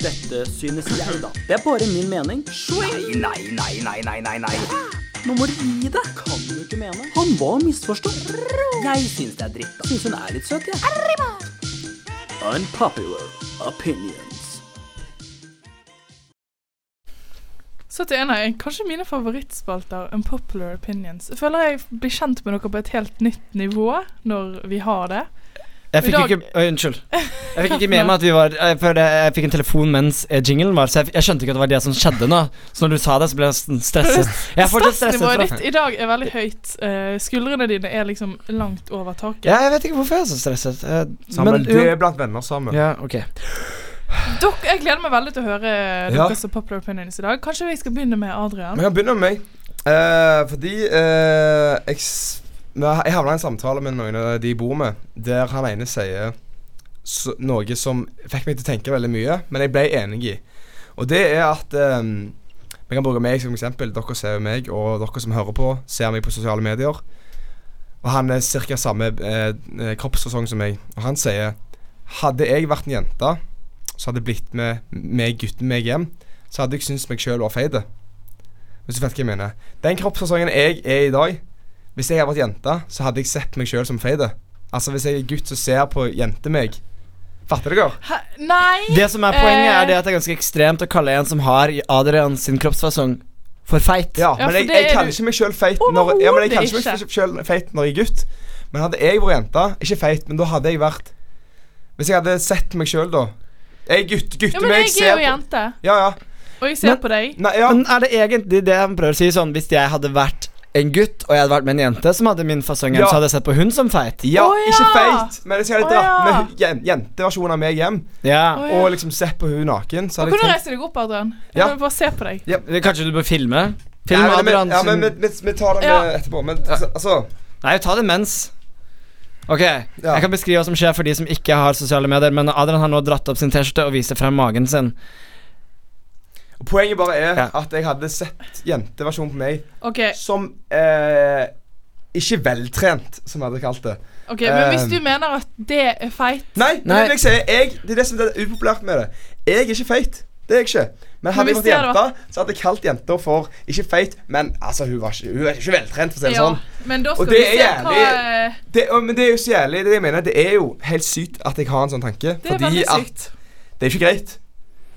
Speaker 7: Dette synes jeg, da. Det er bare min mening. Nei, nei, nei, nei, nei, nei, nei. Nå må du gi deg. Kan du ikke mene. Han var misforstått. Jeg synes det er dritt, da. Synes hun er litt søt, jeg. Unpopular opinions.
Speaker 2: Så til en av kanskje mine favorittspalter, Unpopular Opinions. Jeg føler jeg blir kjent med dere på et helt nytt nivå når vi har det. I
Speaker 3: Jeg fikk
Speaker 2: dag-
Speaker 3: ikke Oi, Unnskyld. Jeg fikk ikke med meg at vi var eh, For det- jeg fikk en telefon mens eh, jinglen var, så jeg, f- jeg skjønte ikke at det var det som skjedde nå. Så når du sa det, så ble jeg nesten stresset. Jeg er fortsatt stresset.
Speaker 2: Stressnivået
Speaker 3: Fra.
Speaker 2: ditt i dag er veldig høyt. Eh, skuldrene dine er liksom langt over taket.
Speaker 3: Ja, jeg vet ikke hvorfor jeg er så stresset. Eh,
Speaker 1: Sammen.
Speaker 3: jo-
Speaker 1: Det er blant venner sammen.
Speaker 3: Ja, ok.
Speaker 2: Dere, jeg gleder meg veldig til å høre
Speaker 1: Ja.
Speaker 2: deres popular opinions i dag. Kanskje vi skal begynne med Adrian?
Speaker 1: Vi kan begynne med meg. Eh, fordi eh, jeg, s- vi har- jeg havna i en samtale med noen av de jeg bor med, der han ene sier s- noe som fikk meg til å tenke veldig mye, men jeg ble enig i. Og det er at eh, Vi kan bruke meg som eksempel. Dere ser jo meg, og dere som hører på, ser meg på sosiale medier. Og han er ca. samme eh, eh, kroppsfasong som meg. Og han sier Hadde jeg vært en jente, så hadde jeg blitt med meg gutten meg hjem, så hadde jeg syntes meg sjøl var feit. Hvis du vet hva jeg mener. Den kroppsfasongen jeg er i dag Hvis jeg hadde vært jente, så hadde jeg sett meg sjøl som feit. Altså, hvis jeg er gutt som ser på jente-meg Fatter dere?
Speaker 2: Hæ? Nei!
Speaker 3: Det som er poenget,
Speaker 2: Eh.
Speaker 3: er det at det er ganske ekstremt å kalle en som har Adrian sin kroppsfasong, for feit.
Speaker 1: Ja, men
Speaker 2: Ja, for
Speaker 1: jeg,
Speaker 2: det
Speaker 1: jeg
Speaker 2: er
Speaker 1: kaller
Speaker 2: du-
Speaker 1: ikke meg sjøl feit når ja, men jeg kaller
Speaker 2: Overhodet
Speaker 1: ikke meg selv feit når jeg er gutt. Men hadde jeg vært jente, ikke feit, men da hadde jeg vært Hvis jeg hadde sett meg sjøl, da Jeg er gutt, gutt,
Speaker 2: Ja, men jeg er jo jente,
Speaker 1: Ja, ja.
Speaker 2: og jeg ser
Speaker 3: Men-
Speaker 2: på deg.
Speaker 1: Nei, ja.
Speaker 3: Men er det egentlig det han prøver å si? Sånn, hvis jeg hadde vært en gutt, og jeg hadde vært med en jente som hadde min fasong,
Speaker 1: Ja.
Speaker 3: så hadde jeg sett på hun som feit.
Speaker 1: Ja,
Speaker 2: Å, ja.
Speaker 1: ikke feit, men hvis jeg hadde
Speaker 2: Å, ja.
Speaker 1: dratt med jen- jenteversjonen av meg hjem
Speaker 3: Ja.
Speaker 2: Å, ja.
Speaker 1: og liksom sett på hun naken, så
Speaker 2: Nå
Speaker 1: hadde jeg
Speaker 2: kan du
Speaker 1: tenkt
Speaker 2: reise deg opp, Adrian.
Speaker 1: Ja.
Speaker 2: Jeg vil bare se på deg.
Speaker 3: Kanskje du bør filme? Film
Speaker 1: Nei, men- men-
Speaker 3: Adrian
Speaker 1: Ja, men vi,
Speaker 3: sin-
Speaker 1: vi, vi tar det
Speaker 2: Ja.
Speaker 1: med etterpå. Men altså- altså
Speaker 3: Nei, ta det mens. Ok, Jeg kan beskrive hva som skjer for de som ikke har sosiale medier. Men Adrian har nå dratt opp sin T-skjorte og viser frem magen sin.
Speaker 1: Poenget bare er
Speaker 3: Ja.
Speaker 1: at jeg hadde sett jenteversjonen på meg
Speaker 2: Ok,
Speaker 1: som eh, Ikke veltrent, som jeg hadde kalt det.
Speaker 2: Ok, Men hvis
Speaker 1: Um,
Speaker 2: du mener at det er feit
Speaker 1: Nei, det
Speaker 3: Nei.
Speaker 1: er det jeg sier. Jeg, det er det som er upopulært med det. Jeg er ikke feit. Det er jeg ikke. Men hadde jeg
Speaker 2: Men hvis
Speaker 1: vært
Speaker 2: det hadde
Speaker 1: jente, så hadde jeg kalt jenta for ikke feit, men altså, hun, var ikke, hun er ikke veltrent, for å si det
Speaker 2: ja,
Speaker 1: sånn.
Speaker 2: Men da
Speaker 1: Og
Speaker 2: skal
Speaker 1: det
Speaker 2: vi
Speaker 1: er
Speaker 2: se hva
Speaker 1: jævlig-
Speaker 2: eh,
Speaker 1: Det, og, men det er jo så jævlig. Det, er det jeg mener, det er jo helt sykt at jeg har en sånn tanke.
Speaker 2: Det er
Speaker 1: fordi
Speaker 2: veldig
Speaker 1: at
Speaker 2: sykt.
Speaker 1: det er ikke greit.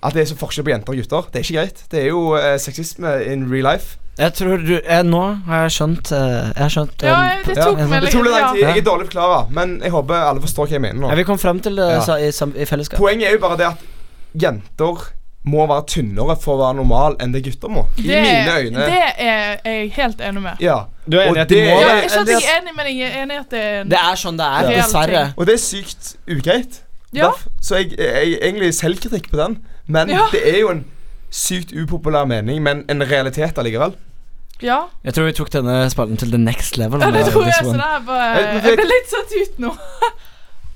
Speaker 1: At det er så forskjell på jenter og gutter. Det er ikke greit. Det er jo eh, sexisme in real life.
Speaker 3: Jeg tror du eh, Nå har jeg skjønt eh, Jeg har skjønt
Speaker 2: Ja,
Speaker 3: eh,
Speaker 2: det
Speaker 1: Ja,
Speaker 2: tok meg
Speaker 1: Det
Speaker 2: litt
Speaker 1: tok litt lang tid.
Speaker 2: ja.
Speaker 1: Jeg er dårlig forklara, men jeg håper alle forstår hva jeg mener nå.
Speaker 3: ja, Vi kom frem til det
Speaker 1: Ja.
Speaker 3: sa, i, sam, i fellesskap.
Speaker 1: Poenget er jo bare det at jenter må være tynnere for å være normal enn det gutter må. I
Speaker 2: Det-
Speaker 1: mine øyne.
Speaker 2: Det er jeg helt enig med.
Speaker 1: Ja.
Speaker 3: Du er
Speaker 1: enig i at de må
Speaker 2: Ja,
Speaker 1: det-
Speaker 2: ikke at jeg er enig, men jeg er enig i at det er en
Speaker 3: Det er sånn det er,
Speaker 2: Ja.
Speaker 3: dessverre.
Speaker 1: Og det er sykt ugreit.
Speaker 2: Ja.
Speaker 1: Derf- Så jeg, jeg egentlig selvkritikk på den. Men
Speaker 2: Ja.
Speaker 1: det er jo en sykt upopulær mening, men en realitet allikevel.
Speaker 2: Ja,
Speaker 3: Jeg tror vi tok denne spalten til the next level.
Speaker 2: ja det
Speaker 3: med
Speaker 2: tror
Speaker 3: this
Speaker 2: jeg. Så
Speaker 3: one.
Speaker 2: det er bare
Speaker 1: Eh, men
Speaker 2: Jeg
Speaker 1: vet-
Speaker 2: ble litt satt ut nå.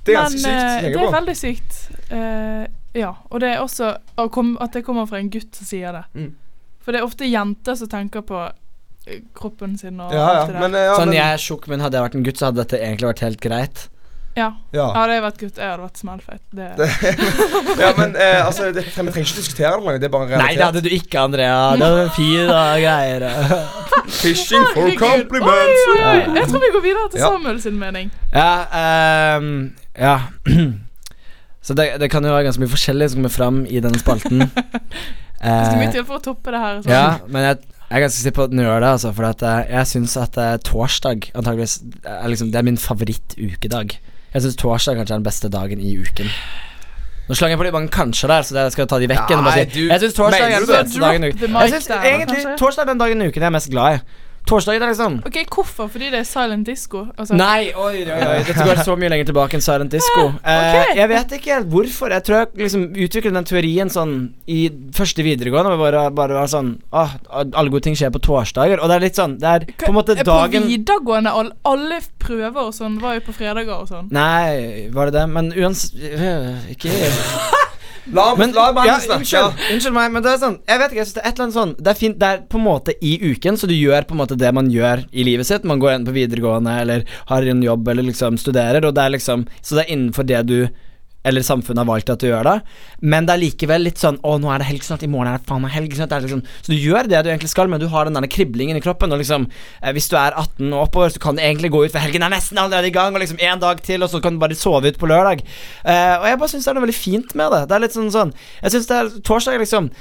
Speaker 1: Det er ganske sykt å
Speaker 2: eh, det
Speaker 1: tenke
Speaker 2: er
Speaker 1: på.
Speaker 2: veldig sykt. Eh, ja. Og det er også å kom- at det kommer fra en gutt som sier det.
Speaker 1: Mm.
Speaker 2: For det er ofte jenter som tenker på eh, kroppen sin og
Speaker 1: Ja, ja.
Speaker 2: alt det der.
Speaker 1: Men, eh, ja,
Speaker 3: Sånn,
Speaker 1: men,
Speaker 3: jeg er tjukk, men hadde jeg vært en gutt, så hadde dette egentlig vært helt greit.
Speaker 2: ja.
Speaker 1: ja.
Speaker 2: Hadde jeg vært gutt, jeg hadde vært smellfeit. Det,
Speaker 1: ja, men eh, altså, det, vi trenger ikke diskutere det lenger. Det er bare en
Speaker 3: Nei, det
Speaker 1: realitet.
Speaker 3: hadde du ikke, Andrea. Det var fin da, greier.
Speaker 1: Fishing for
Speaker 2: Herregud.
Speaker 1: compliments.
Speaker 2: Oi, oi, oi. Jeg tror vi går videre til
Speaker 1: Ja.
Speaker 2: Samuel sin mening.
Speaker 3: Ja, ehm, ja. Så det, det kan jo være ganske mye forskjellig som kommer fram i denne spalten.
Speaker 2: Det skal mye
Speaker 3: Eh,
Speaker 2: til for å toppe det her. sånn.
Speaker 3: ja, men jeg, jeg er ganske sikker på at den gjør det, altså. For at eh, jeg syns at eh, torsdag antageligvis er liksom Det er min favorittukedag. Jeg syns torsdag kanskje er den beste dagen i uken. Nå slang jeg på de mange kanskje der, så jeg skal ta de vekk igjen. og bare
Speaker 1: Nei,
Speaker 3: Si.
Speaker 1: du-
Speaker 3: Jeg syns torsdag er
Speaker 1: mener
Speaker 3: den
Speaker 1: du det?
Speaker 3: beste dagen i
Speaker 2: Drop the
Speaker 3: uken.
Speaker 2: mic
Speaker 3: Jeg synes
Speaker 2: der,
Speaker 3: egentlig
Speaker 2: kanskje?
Speaker 3: torsdag er den dagen i uken jeg er mest glad i. Torsdager er liksom
Speaker 2: Ok, Hvorfor? Fordi det er silent disco? Altså,
Speaker 3: Nei, oi, oi, oi. Dette går så mye lenger tilbake enn Silent Disco.
Speaker 2: Ah,
Speaker 3: Eh, jeg vet ikke helt hvorfor. Jeg tror jeg liksom utviklet den teorien sånn i første videregående. Hvor bare, bare var sånn Åh, alle gode ting skjer på torsdager. Og det er litt sånn Det er på en måte
Speaker 2: Eh, På
Speaker 3: dagen
Speaker 2: videregående, all, alle prøver og sånn var jo på fredager og sånn.
Speaker 3: Nei, var det det? Men uansett øh, Ikke
Speaker 1: La,
Speaker 3: men,
Speaker 1: la mannen
Speaker 3: ja,
Speaker 1: snakke.
Speaker 3: unnskyld, unnskyld meg, men det er sånn Jeg vet ikke, jeg synes det er et eller annet sånn Det er fint, det er på en måte i uken, så du gjør på en måte det man gjør i livet sitt. Man går enten på videregående eller har en jobb eller liksom studerer, og det er liksom Så det er innenfor det du eller samfunnet har valgt at du gjør det, men det er likevel litt sånn Å, nå er det helg snart, i morgen er det faen meg helg snart. Det er liksom, så du gjør det du egentlig skal, men du har den der kriblingen i kroppen. Og liksom, eh, hvis du er 18 og oppover, så kan du egentlig gå ut, for helgen er nesten allerede i gang, og liksom én dag til, og så kan du bare sove ut på lørdag. Eh, og jeg bare syns det er noe veldig fint med det. Det er litt sånn sånn Jeg syns det er torsdag, er liksom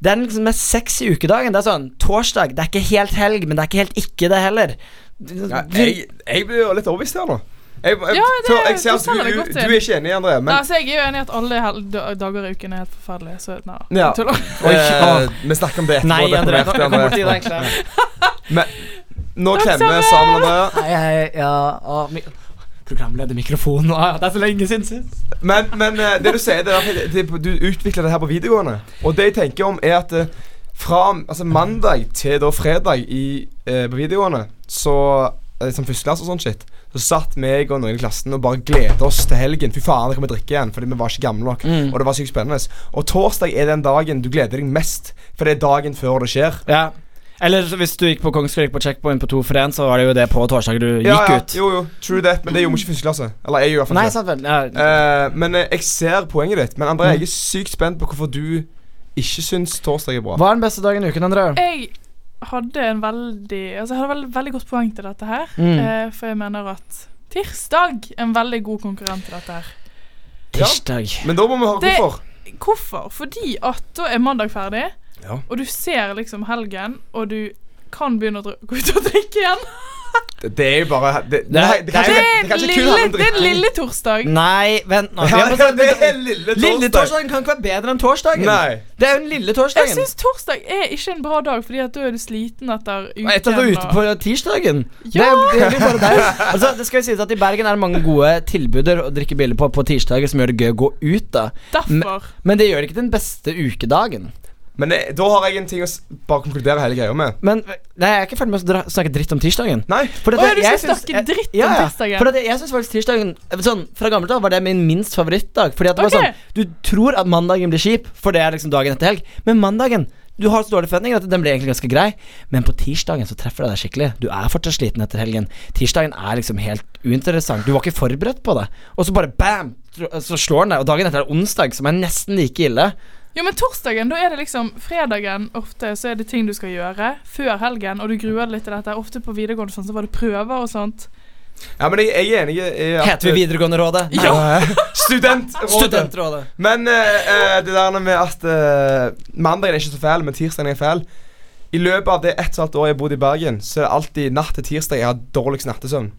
Speaker 3: det er den liksom mest sexy ukedagen. Det er sånn, Torsdag det er ikke helt helg, men det er ikke helt ikke det heller.
Speaker 1: Ja, jeg, jeg blir jo litt overbevist her nå. Jeg, jeg,
Speaker 2: Ja, det-
Speaker 1: tror- jeg ser
Speaker 2: du
Speaker 1: at
Speaker 2: selger det
Speaker 1: du,
Speaker 2: godt
Speaker 1: du,
Speaker 2: inn.
Speaker 1: du er ikke enig, André.
Speaker 2: Nei,
Speaker 1: Men
Speaker 2: altså, Jeg er jo enig i at alle hel da- dager i uken er helt forferdelige, så nei.
Speaker 1: Ja.
Speaker 2: jeg tuller.
Speaker 3: Oi,
Speaker 1: eh,
Speaker 3: å.
Speaker 1: vi snakker om det etterpå.
Speaker 3: Nei,
Speaker 1: deprimert,
Speaker 3: André, kom, kom
Speaker 1: André.
Speaker 3: borti det, egentlig.
Speaker 1: Nå
Speaker 2: Takk,
Speaker 1: klemmer
Speaker 2: Samuel.
Speaker 1: Samuel Andrea.
Speaker 3: Nei, jeg, ja, å, mi Programledermikrofonen å, Det er så lenge siden sist.
Speaker 1: Men, men eh, det du sier, det er at det- det- du utvikler det her på videregående. Og det jeg tenker om, er at eh, fra altså mandag til da fredag i, eh, på videregående, så eh, som førsteklasse og sånn shit, så satt meg og noen i klassen og bare gledet oss til helgen. Fy faen, det kan vi drikke igjen, fordi vi var ikke gamle nok.
Speaker 3: Mm.
Speaker 1: Og det var sykt spennende. Og torsdag er den dagen du gleder deg mest, for det er dagen før det skjer.
Speaker 3: Ja. Eller så hvis du gikk på Kongsberg på checkpoint på to for én, så var det jo det på torsdag du gikk ut.
Speaker 1: Jo, jo, true that, men det gjorde vi ikke i første klasse. Eller jeg gjorde i hvert fall
Speaker 3: Nei,
Speaker 1: ikke det.
Speaker 3: sant vel. Ja.
Speaker 1: Eh, men eh, jeg ser poenget ditt. Men André, jeg er sykt spent på hvorfor du ikke syns torsdag er bra.
Speaker 3: Hva er den beste dagen i uken, André?
Speaker 2: Jeg hadde en veldig Altså, jeg hadde vel, veldig godt poeng til dette her,
Speaker 3: Mm.
Speaker 2: eh, for jeg mener at tirsdag er en veldig god konkurrent til dette her.
Speaker 3: Tirsdag.
Speaker 1: Men da må vi høre
Speaker 2: Det-
Speaker 1: hvorfor.
Speaker 2: Hvorfor? Fordi at da er mandag ferdig,
Speaker 1: Ja.
Speaker 2: og du ser liksom helgen, og du kan begynne å dr- gå ut og drikke igjen.
Speaker 1: Det, det er jo bare Det, det,
Speaker 3: Det er-
Speaker 1: det, det kan
Speaker 2: Det
Speaker 1: ikke-
Speaker 2: er
Speaker 1: det kan
Speaker 2: en
Speaker 1: ikke kun
Speaker 2: lille,
Speaker 1: handle om
Speaker 2: det er en
Speaker 1: drikking.
Speaker 2: lille torsdag.
Speaker 3: Nei, vent nå. Vi
Speaker 1: Ja,
Speaker 3: har bare-
Speaker 1: det er lille torsdag.
Speaker 3: Lille torsdagen kan ikke være bedre enn torsdagen.
Speaker 1: Nei.
Speaker 3: Det er jo den lille
Speaker 2: Jeg
Speaker 3: torsdagen.
Speaker 2: syns torsdag er ikke en bra dag, Fordi at da er du sliten etter uken.
Speaker 3: Etter at du var ute
Speaker 2: og-
Speaker 3: på tirsdagen. Det,
Speaker 2: Ja!
Speaker 3: er- det gjelder jo bare deg. Altså, det skal jo sies at I Bergen er det mange gode tilbuder å drikke biler på på tirsdager som gjør det gøy å gå ut. da
Speaker 2: Derfor.
Speaker 3: Men det gjør det ikke til den beste ukedagen.
Speaker 1: Men eh, da har jeg en ting å s- bare konkludere hele greia med.
Speaker 3: Men nei, jeg er ikke ferdig med å dra- snakke dritt om tirsdagen.
Speaker 1: Nei.
Speaker 3: For
Speaker 2: Å, ja, du skal
Speaker 3: syns-
Speaker 2: snakke dritt om tirsdagen.
Speaker 3: For at jeg, jeg syns faktisk tirsdagen eh, Sånn, Fra gammelt av var det min minst favorittdag. Fordi at det
Speaker 2: Ok.
Speaker 3: var sånn Du tror at mandagen blir kjip, for det er liksom dagen etter helg. Men mandagen du har så dårlig forventninger at den blir egentlig ganske grei, men på tirsdagen så treffer det deg skikkelig. Du er fortsatt sliten etter helgen. Tirsdagen er liksom helt uinteressant. Du var ikke forberedt på det, og så bare bam! Så slår den deg, og dagen etter er det onsdag, som er nesten like ille.
Speaker 2: Jo, men torsdagen, da er det liksom Fredagen ofte så er det ting du skal gjøre før helgen, og du gruer deg litt til dette. Ofte på videregående sånn, så var det prøver og sånt.
Speaker 1: Ja, men jeg, jeg er enig i at
Speaker 3: Heter vi videregående rådet? Nei.
Speaker 1: Ja. Studentrådet.
Speaker 3: Studentrådet.
Speaker 1: Men eh, eh, det der med at eh, mandagen er ikke så fæl, men tirsdagen er fæl I løpet av det ett og et halvt år jeg har bodd i Bergen, så er det alltid natt til tirsdag jeg har dårligst nattesøvn.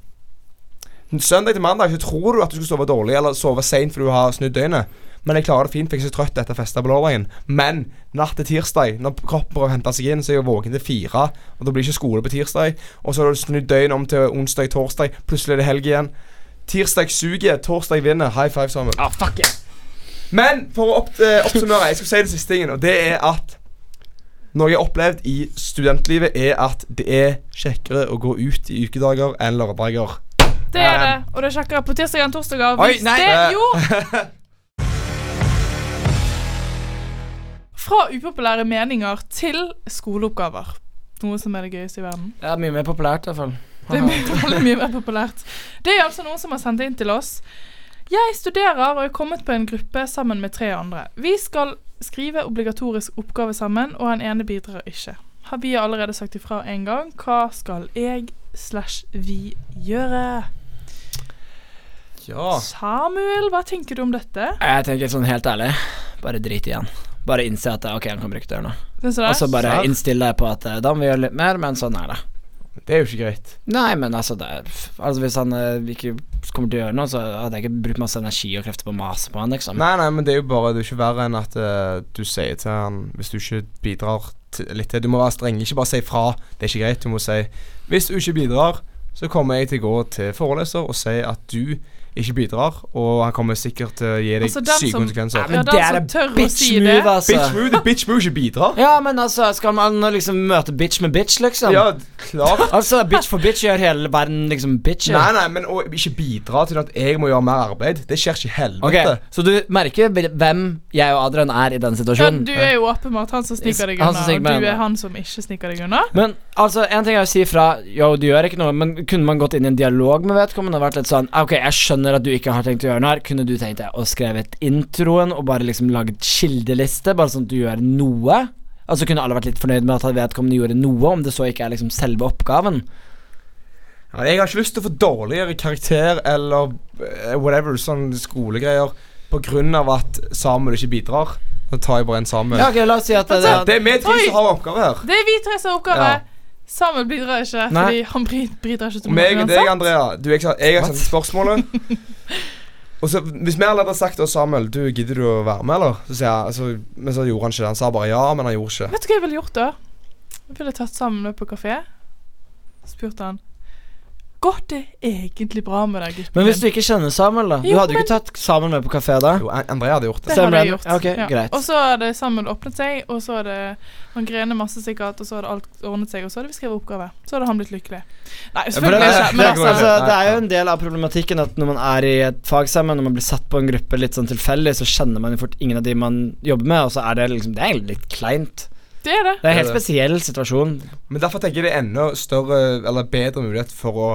Speaker 1: Søndag til mandag så tror du at du skal sove dårlig eller sove seint fordi du har snudd døgnet. Men jeg klarer det fint, for jeg er så trøtt etter festa på lørdagen. Men natt til tirsdag, når kroppen prøver å hente seg inn, så er jeg våken til fire. Og da blir det ikke skole på tirsdag. Og så har du snudd døgnet om til onsdag, torsdag. Plutselig er det helg igjen. Tirsdag suger, torsdag vinner. High five sammen.
Speaker 3: Ah, fuck yeah.
Speaker 1: Men for å opp, eh, oppsummere, jeg skal si den siste tingen, og det er at noe jeg har opplevd i studentlivet, er at det er kjekkere å gå ut i ukedager enn lørdager.
Speaker 2: Det er det, og det er kjekkere på tirsdager enn torsdager.
Speaker 1: Oi,
Speaker 2: Hvis
Speaker 1: nei,
Speaker 2: det
Speaker 1: eh.
Speaker 2: jo Fra upopulære meninger til skoleoppgaver. Noe som er det gøyeste i verden.
Speaker 3: Ja, mye mer populært, i hvert fall.
Speaker 2: Det er mye, veldig mye mer populært. Det er altså noen som har sendt inn til oss. Jeg studerer og er kommet på en gruppe sammen med tre andre. Vi skal skrive obligatorisk oppgave sammen, og han ene bidrar ikke. Har vi allerede sagt ifra en gang. Hva skal jeg slash vi gjøre?
Speaker 3: Ah.
Speaker 1: Ja.
Speaker 2: Samuel, hva tenker du om dette?
Speaker 3: Jeg tenker sånn helt ærlig, bare drit i han. Bare innse at ok, han kan bruke døren nå.
Speaker 2: Syns du
Speaker 3: Og så
Speaker 2: det?
Speaker 3: Altså, bare
Speaker 1: Serr?
Speaker 3: innstille deg på at eh, da må vi gjøre litt mer, men sånn er det.
Speaker 1: Det er jo ikke greit.
Speaker 3: Nei, men altså, det er, pff, altså Hvis han eh, ikke kommer til å gjøre noe, så hadde jeg ikke brukt masse energi og krefter på å mase på han, liksom.
Speaker 1: Nei, nei, men det er jo bare Det er ikke verre enn at eh, du sier til han Hvis du ikke bidrar til, litt til Du må være streng. Ikke bare si fra. Det er ikke greit. Du må si Hvis du ikke bidrar, så kommer jeg til å gå til foreleser og si at du ikke bidrar, og han kommer sikkert til å gi deg
Speaker 2: Altså, den
Speaker 1: syke
Speaker 2: som-
Speaker 1: konsekvenser.
Speaker 2: Ja, den som tør å si det.
Speaker 3: move, altså.
Speaker 1: Bitch move, det er bitch move ikke bidrar.
Speaker 3: Ja, men altså, skal man liksom møte bitch med bitch, liksom?
Speaker 1: Ja, klart.
Speaker 3: Altså, bitch for bitch gjør hele verden liksom bitch.
Speaker 1: Nei, nei, men å ikke bidra til at jeg må gjøre mer arbeid, det skjer ikke i
Speaker 3: Ok,
Speaker 1: helvete.
Speaker 3: Så du merker hvem jeg og Adrian er i den
Speaker 2: Ja,
Speaker 3: situasjonen?
Speaker 2: du er jo åpenbart han som sniker deg
Speaker 3: Han
Speaker 2: unna,
Speaker 3: som sniker
Speaker 2: og
Speaker 3: meg
Speaker 2: du er
Speaker 3: unna.
Speaker 2: han som ikke sniker deg unna.
Speaker 3: Men altså, en ting er å si fra Yo, du gjør ikke noe Men kunne man gått inn i en dialog med vedkommende Og vært litt sånn Ok, jeg skjønner at du ikke har tenkt å gjøre noe her Kunne du tenkt deg å skrevet introen Og bare liksom laget kildeliste Bare sånn at du gjør noe Altså kunne alle vært litt fornøyd med at vedkommende gjorde noe Om det så ikke er liksom selve oppgaven
Speaker 1: Ja, Jeg har ikke lyst til å få dårligere karakter eller eh, whatever, sånn skolegreier, på grunn av at Samuel ikke bidrar. Da tar jeg bare en Samuel.
Speaker 3: Ja, ok, la oss si at det,
Speaker 1: Det er vi tre
Speaker 2: Oi!
Speaker 1: som har oppgave her.
Speaker 2: Det er vi tre som har oppgave.
Speaker 1: Ja.
Speaker 2: Samuel bidrar ikke,
Speaker 3: Nei.
Speaker 2: fordi han bri- bidrar ikke til
Speaker 1: Meg og
Speaker 2: uansett.
Speaker 1: deg, Andrea. Du, jeg, sa- jeg har sendt spørsmålet. Og så, Hvis vi allerede hadde sagt til Samuel Du, gidder du å være med, eller? Så sier jeg, altså, Men så gjorde han ikke det. Han sa bare ja, men han gjorde ikke det.
Speaker 2: Vet du hva jeg ville gjort da? Jeg ville tatt sammen med på kafé. Spurt han Går det egentlig bra med deg, gutten
Speaker 3: Men hvis du ikke kjenner Samuel da Du
Speaker 2: Jo,
Speaker 3: hadde jo
Speaker 2: men-
Speaker 3: ikke tatt Samuel med på kafé da
Speaker 1: Jo, An- Andrea hadde gjort det.
Speaker 2: Det
Speaker 3: Stemmer
Speaker 2: hadde jeg
Speaker 3: den?
Speaker 2: gjort.
Speaker 3: Ja, ok, greit.
Speaker 2: Og så hadde Samuel åpnet seg, og så hadde han grenet masse sikkert, og så hadde alt ordnet seg, og så hadde vi skrevet oppgave. Så hadde han blitt lykkelig. Nei,
Speaker 3: For det,
Speaker 2: selvfølgelig ikke. Men
Speaker 3: det,
Speaker 1: går
Speaker 2: altså
Speaker 3: altså,
Speaker 1: ikke.
Speaker 3: det er jo en del av problematikken at når man er i et fag sammen, når man blir satt på en gruppe litt sånn tilfeldig, så kjenner man jo fort ingen av de man jobber med, og så er det liksom Det er egentlig litt kleint.
Speaker 2: Det er det.
Speaker 3: Det er en
Speaker 1: Det
Speaker 3: helt
Speaker 1: er det.
Speaker 3: spesiell situasjon.
Speaker 1: Men derfor tenker jeg det er enda større Eller bedre mulighet for å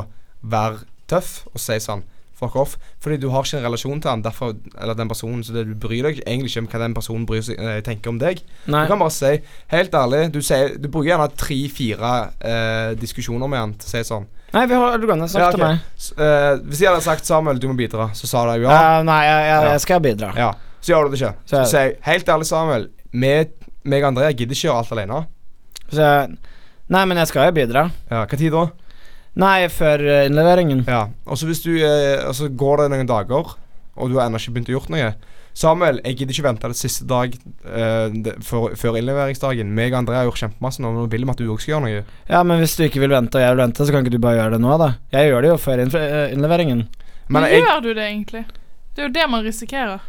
Speaker 1: være tøff og si sånn Fuck off. Fordi du har ikke en relasjon til han Derfor, eller den personen Så det du bryr deg egentlig ikke om hva den personen bryr seg, eh, tenker om deg.
Speaker 3: Nei.
Speaker 1: Du kan bare si Helt ærlig, du, sier, du bruker gjerne tre-fire eh, diskusjoner med han til å si sånn
Speaker 3: Nei, vi har du kan ha
Speaker 1: Ja,
Speaker 3: snakket
Speaker 1: ok.
Speaker 3: til meg.
Speaker 1: S- eh, Hvis jeg hadde sagt Samuel, du må bidra, så sa de ja.
Speaker 3: Eh, nei, jeg, jeg,
Speaker 1: Ja.
Speaker 3: jeg skal bidra.
Speaker 1: ja. Så gjør du det ikke. Så
Speaker 3: Så-
Speaker 1: sier jeg helt ærlig, Samuel, vi, meg og Andrea gidder ikke gjøre alt alene.
Speaker 3: Så jeg, nei, men jeg skal jo bidra.
Speaker 1: Ja, hva tid da?
Speaker 3: Nei, før eh, innleveringen.
Speaker 1: Ja, og så hvis du eh, Og så går det noen dager Og du har enda ikke begynt å gjort noe Samuel, jeg gidder ikke vente til siste dag eh, det- for, Før innleveringsdagen Meg og Andrea har gjort kjempemasse nå Men nå vil vi at du også skal gjøre noe
Speaker 3: Ja, men hvis du ikke vil vente, og jeg vil vente, så kan ikke du bare gjøre det nå, da? Jeg gjør det jo før innf- eh, innleveringen.
Speaker 1: Men
Speaker 2: Men
Speaker 1: jeg,
Speaker 2: Gjør du det egentlig? Det er jo det man risikerer.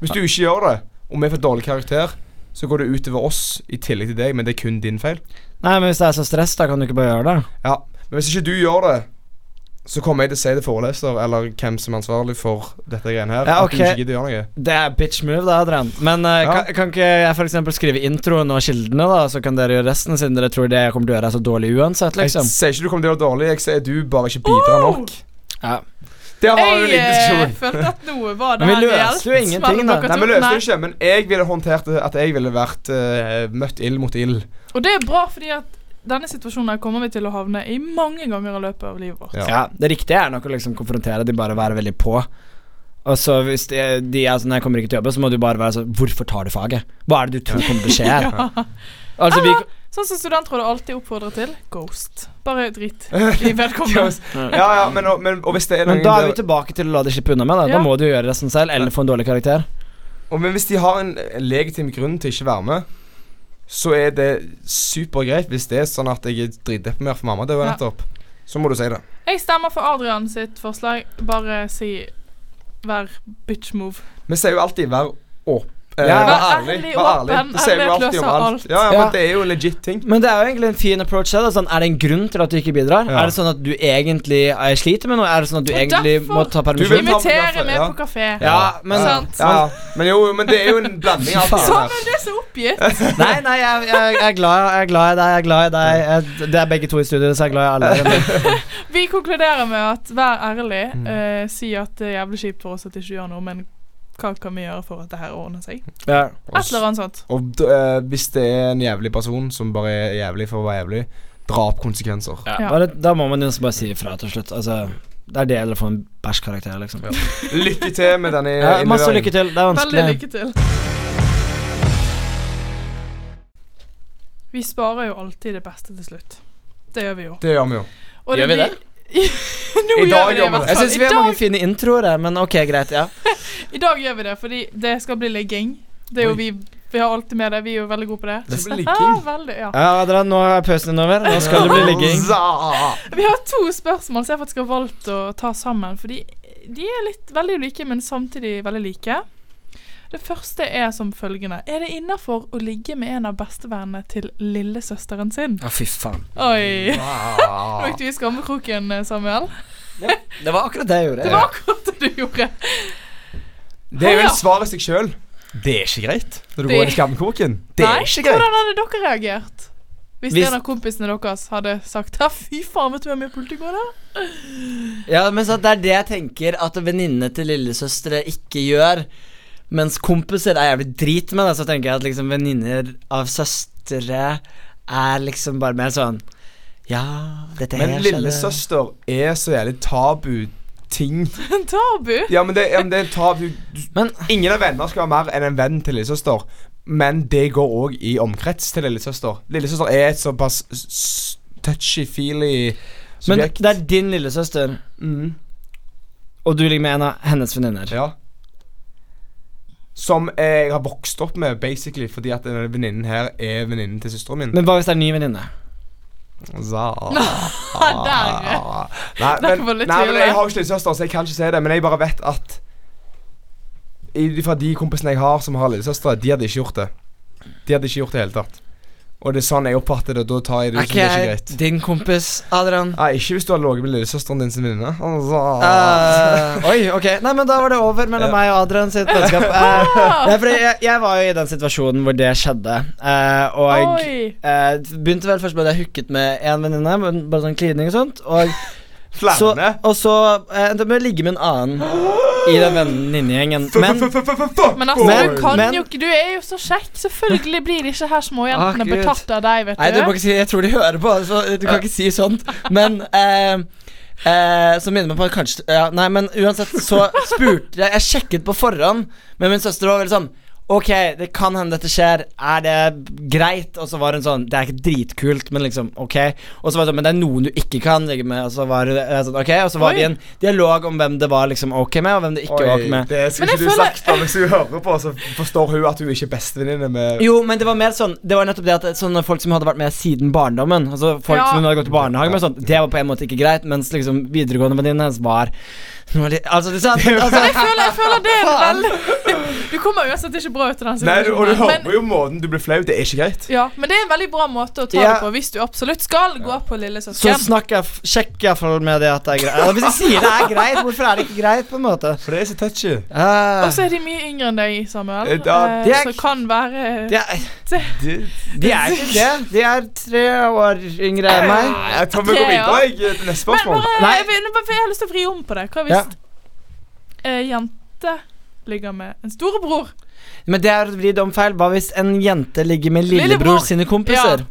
Speaker 1: hvis du ikke gjør det Og vi får dårlig karakter Så går det ut over oss I tillegg til deg Men det er kun din feil
Speaker 3: Nei, men hvis det er så stress, da kan du ikke bare gjøre det.
Speaker 1: Ja Men hvis ikke du gjør det så kommer jeg til å si til foreleser eller hvem som er ansvarlig for dette greiene her,
Speaker 3: Ja,
Speaker 1: at du
Speaker 3: ok.
Speaker 1: ikke gidder å gjøre noe.
Speaker 3: Det er bitch move, da, Adrian. Men eh,
Speaker 1: Ja.
Speaker 3: kan, kan ikke jeg for eksempel skrive introen og kildene, da, så kan dere gjøre resten, siden dere tror det jeg kommer til å gjøre, er så dårlig uansett,
Speaker 1: Jeg
Speaker 3: liksom?
Speaker 1: sier ikke du kommer til å gjøre det dårlig, jeg sier du bare ikke bidrar
Speaker 2: Oh!
Speaker 1: nok.
Speaker 3: Ja.
Speaker 1: Der har du en
Speaker 2: Jeg
Speaker 1: liten
Speaker 2: eh,
Speaker 1: diskusjon.
Speaker 2: følte at noe var det
Speaker 3: Men vi
Speaker 2: her
Speaker 3: løste jo
Speaker 2: reelt,
Speaker 3: ingenting,
Speaker 2: mellom
Speaker 3: da.
Speaker 2: dere
Speaker 1: Nei,
Speaker 2: to.
Speaker 1: vi løste
Speaker 2: Nei.
Speaker 1: det ikke, men jeg ville håndtert det at jeg ville vært eh, møtt ild mot ild.
Speaker 2: Og det er bra, fordi at denne situasjonen her kommer vi til å havne i mange ganger i løpet av livet vårt.
Speaker 1: Ja.
Speaker 3: Ja, det riktige er nok å liksom konfrontere de, bare være veldig på. Og så hvis de, de er sånn, jeg kommer ikke til å jobbe, så må du bare være sånn, hvorfor tar du faget? Hva er det du tror kommer til å skje her? Altså, vi,
Speaker 2: Sånn som studentrådet alltid oppfordrer til ghost. Bare drit i vedkommende.
Speaker 1: Ja, ja, men, og, men, og hvis det er noen
Speaker 3: men da er vi
Speaker 1: der,
Speaker 3: tilbake til å la de slippe unna med, da.
Speaker 2: Ja.
Speaker 3: Da må du gjøre resten selv, eller få en dårlig karakter.
Speaker 1: og, Men hvis de har en eh, legitim grunn til ikke å være med, så er det supergreit hvis det er sånn at jeg er dritdeprimert for mamma døde
Speaker 2: Ja.
Speaker 1: nettopp. Så må du si det.
Speaker 2: Jeg stemmer for Adrian sitt forslag. Bare si Vær bitch move.
Speaker 1: Vi sier jo alltid 'vær åp'. eh, vær
Speaker 3: Ja.
Speaker 2: Vær
Speaker 1: ærlig.
Speaker 2: ærlig,
Speaker 1: Vær ærlig.
Speaker 2: åpen,
Speaker 1: Det sier vi jo
Speaker 2: ærlighet
Speaker 1: alltid om
Speaker 2: løser
Speaker 1: alt.
Speaker 2: alt.
Speaker 1: Ja, ja, men
Speaker 3: Ja.
Speaker 1: det er jo legit ting.
Speaker 3: Men det er jo egentlig en fin approach her. da, Sånn, er det en grunn til at du ikke bidrar?
Speaker 1: Ja.
Speaker 3: Er det sånn at du egentlig eh, sliter med noe? Er det sånn at du
Speaker 2: Og
Speaker 3: egentlig
Speaker 2: derfor-
Speaker 3: må ta
Speaker 1: Du vil
Speaker 3: permisjon?
Speaker 1: ta-
Speaker 2: Invitere med
Speaker 1: ja.
Speaker 2: på kafé.
Speaker 3: Ja, men
Speaker 2: Sant.
Speaker 1: Ja, ja. men jo, men det er jo en blanding av alt det
Speaker 2: Sånn
Speaker 1: der.
Speaker 2: er det så oppgitt.
Speaker 3: Nei, nei, jeg, jeg, jeg er glad jeg er glad i deg. Jeg er glad i deg jeg, Det er begge to i studio, så jeg er glad i alle. dere.
Speaker 2: Vi konkluderer med at vær ærlig.
Speaker 1: Mm.
Speaker 2: eh, si at det er jævlig kjipt for oss at de ikke gjør noe, men hva kan vi gjøre for at det her ordner seg?
Speaker 3: Ja.
Speaker 2: Et eller annet sånt.
Speaker 1: Og d- eh, hvis det er en jævlig person som bare er jævlig for å være jævlig, dra opp konsekvenser.
Speaker 2: Ja.
Speaker 3: Bare, da må man jo bare si ifra til slutt. Altså, det er det eller å få en bæsjkarakter, liksom.
Speaker 1: Lykke til med denne
Speaker 3: Ja, masse
Speaker 1: innleveringen.
Speaker 3: lykke til. Det er
Speaker 2: Veldig
Speaker 3: vanskelig.
Speaker 2: lykke til. Vi sparer jo alltid det beste til slutt. Det gjør vi jo.
Speaker 1: Det gjør vi jo.
Speaker 2: Og
Speaker 3: Gjør vi det?
Speaker 2: Nå
Speaker 1: I dag
Speaker 2: gjør vi det,
Speaker 1: gjør
Speaker 2: i
Speaker 1: vi
Speaker 2: hvert
Speaker 1: det.
Speaker 3: Jeg
Speaker 2: fall.
Speaker 3: syns vi
Speaker 2: I
Speaker 3: har mange
Speaker 2: dag,
Speaker 3: fine introer her, men ok, greit. Ja.
Speaker 2: I dag gjør vi det, fordi det skal bli legging. Det er jo vi Vi har alltid med det. Vi er jo veldig gode på det.
Speaker 1: Det skal bli
Speaker 2: Ah,
Speaker 1: ligging.
Speaker 2: veldig, ja.
Speaker 3: Ja, Adrian, nå er pausen din over. Nå skal det bli ligging.
Speaker 1: Za!
Speaker 2: Vi har to spørsmål som jeg faktisk har valgt å ta sammen, fordi de er litt veldig ulike, men samtidig veldig like. Det første er som følgende Er det innafor å ligge med en av bestevennene til lillesøsteren sin?
Speaker 3: Å, fy faen.
Speaker 2: Oi! Nå gikk du i skammekroken, eh, Samuel.
Speaker 3: Det var akkurat det jeg gjorde.
Speaker 2: Det var akkurat det du gjorde.
Speaker 1: Det er jo
Speaker 2: Ja.
Speaker 1: et svar i seg sjøl. Det er ikke greit når du
Speaker 2: Det-
Speaker 1: går inn i skammekroken. Det
Speaker 2: Nei,
Speaker 1: er ikke greit.
Speaker 2: Hvordan hadde dere reagert? Hvis,
Speaker 3: Hvis-
Speaker 2: en av kompisene deres hadde sagt Ja, fy faen, vet du hvem jeg pulte i går, da?
Speaker 3: Ja, men så Det er det jeg tenker at venninnene til lillesøstre ikke gjør. Mens kompiser er jævlig drit med det, så tenker jeg at liksom venninner av søstre er liksom bare mer sånn Ja, dette her
Speaker 1: Men
Speaker 3: skjedde.
Speaker 1: lillesøster er så jævlig tabu ting.
Speaker 2: En tabu?
Speaker 1: Ja, men det, ja, men det er tabu
Speaker 3: Men
Speaker 1: Ingen av venner skal være mer enn en venn til lillesøster, men det går òg i omkrets til lillesøster. Lillesøster er et såpass s- s- touchy-feely
Speaker 3: Men
Speaker 1: subjekt.
Speaker 3: det er din lillesøster,
Speaker 1: Mm,
Speaker 3: og du ligger med en av hennes venninner.
Speaker 1: ja. Som jeg har vokst opp med, basically, fordi at denne venninnen her er venninnen til søsteren min.
Speaker 3: Men hva hvis det er en ny venninne?
Speaker 1: Za.
Speaker 2: Der.
Speaker 1: Nei,
Speaker 2: Der
Speaker 1: men,
Speaker 2: var litt
Speaker 1: nei, men
Speaker 2: tvil,
Speaker 1: jeg
Speaker 2: ja.
Speaker 1: har jo ikke lillesøster, så jeg kan ikke si det. Men jeg bare vet at i- fra de kompisene jeg har som har lillesøstre, de hadde ikke gjort det. De hadde ikke gjort det i hele tatt. Og det er sånn jeg oppfatter det, og da tar jeg det
Speaker 3: Er
Speaker 1: som det
Speaker 3: ikke
Speaker 1: er ikke
Speaker 3: jeg
Speaker 1: greit.
Speaker 3: din kompis, Adrian?
Speaker 1: Nei, ikke hvis du har ligget med lillesøsteren din sin venninne. Altså.
Speaker 3: Eh, oi, ok. Nei, men da var det over mellom
Speaker 1: Ja.
Speaker 3: meg og Adrian sitt vennskap. Eh, nei, fordi jeg, jeg var jo i den situasjonen hvor det skjedde, eh, og
Speaker 2: Oi.
Speaker 3: eh, begynte vel først med at jeg hooket med en venninne, men bare sånn klining og sånt. Og så,
Speaker 1: Flere.
Speaker 3: og så eh, endte jeg med å ligge med en annen i den venninnegjengen. Men
Speaker 1: F-f-f-f-fuck
Speaker 2: Men altså,
Speaker 3: Men-
Speaker 2: du kan
Speaker 3: men-
Speaker 2: jo ikke Du er jo så kjekk. Selvfølgelig blir disse her småjentene
Speaker 3: Å, Ah, Gud.
Speaker 2: betatt av deg, vet
Speaker 3: Nei, du
Speaker 2: du.
Speaker 3: må ikke si Jeg tror de hører på, så du kan ikke si sånt. Men eh, eh, Så minner meg på at kanskje ja, Nei, men uansett, så spurte jeg Jeg sjekket på forhånd, men min søster var veldig sånn Ok, det kan hende dette skjer. Er det greit? Og så var hun sånn Det er ikke dritkult, men liksom, ok. Og så var det sånn Men det er noen du ikke kan ligge med. Og så var det eh, sånn, ok Og så var
Speaker 2: Oi.
Speaker 3: vi i en dialog om hvem det var liksom ok med, og hvem det ikke var ok med.
Speaker 1: det skulle
Speaker 2: Men
Speaker 1: ikke
Speaker 2: jeg
Speaker 1: du
Speaker 2: føler-
Speaker 1: sagt. da, Hvis hun hører på, så forstår hun at hun ikke er bestevenninne med
Speaker 3: Jo, men det var mer sånn Det var nettopp det at sånne folk som hadde vært med siden barndommen Altså
Speaker 2: Ja.
Speaker 3: folk som hun hadde gått i barnehage med og sånt, Det var på en måte ikke greit Mens liksom videregående venninne hennes var Nå er det- Altså, det er sant men altså,
Speaker 2: Jeg føler, jeg føler det er veldig Du kommer uansett ikke bra ut i den
Speaker 1: Nei, du, og du
Speaker 2: men,
Speaker 1: hører jo måten du blir flau. Det er ikke greit.
Speaker 2: ja, men det er en veldig bra måte å ta
Speaker 3: Ja.
Speaker 2: det på hvis du absolutt skal gå på
Speaker 3: Så
Speaker 2: lillesøsken.
Speaker 3: snakk jeg, f- sjekk i hvert fall med det at det er greit. Ja, hvis de sier det er greit, hvorfor er det ikke greit, på en måte?
Speaker 1: For det er så touchy.
Speaker 3: Eh,
Speaker 2: Og så er de mye yngre enn deg, Samuel.
Speaker 1: Eh, da-
Speaker 2: eh,
Speaker 3: Det er-
Speaker 2: så kan være
Speaker 3: de, er,
Speaker 1: Det,
Speaker 3: de er ikke det. De er tre år yngre enn meg.
Speaker 1: Nei, jeg tror vi går
Speaker 2: Det, Eh, ja.
Speaker 1: videre jeg, til neste
Speaker 2: Men
Speaker 1: spørsmål.
Speaker 2: bare,
Speaker 3: Nei.
Speaker 2: jeg, vil- nå bare- for jeg har lyst til å vri om på det. Hva hvis
Speaker 3: Ja.
Speaker 2: eh, jente ligger med en storebror?
Speaker 3: Men det er å vri det om feil. Hva hvis en jente ligger med
Speaker 2: Lillebror.
Speaker 3: lillebror sine kompiser?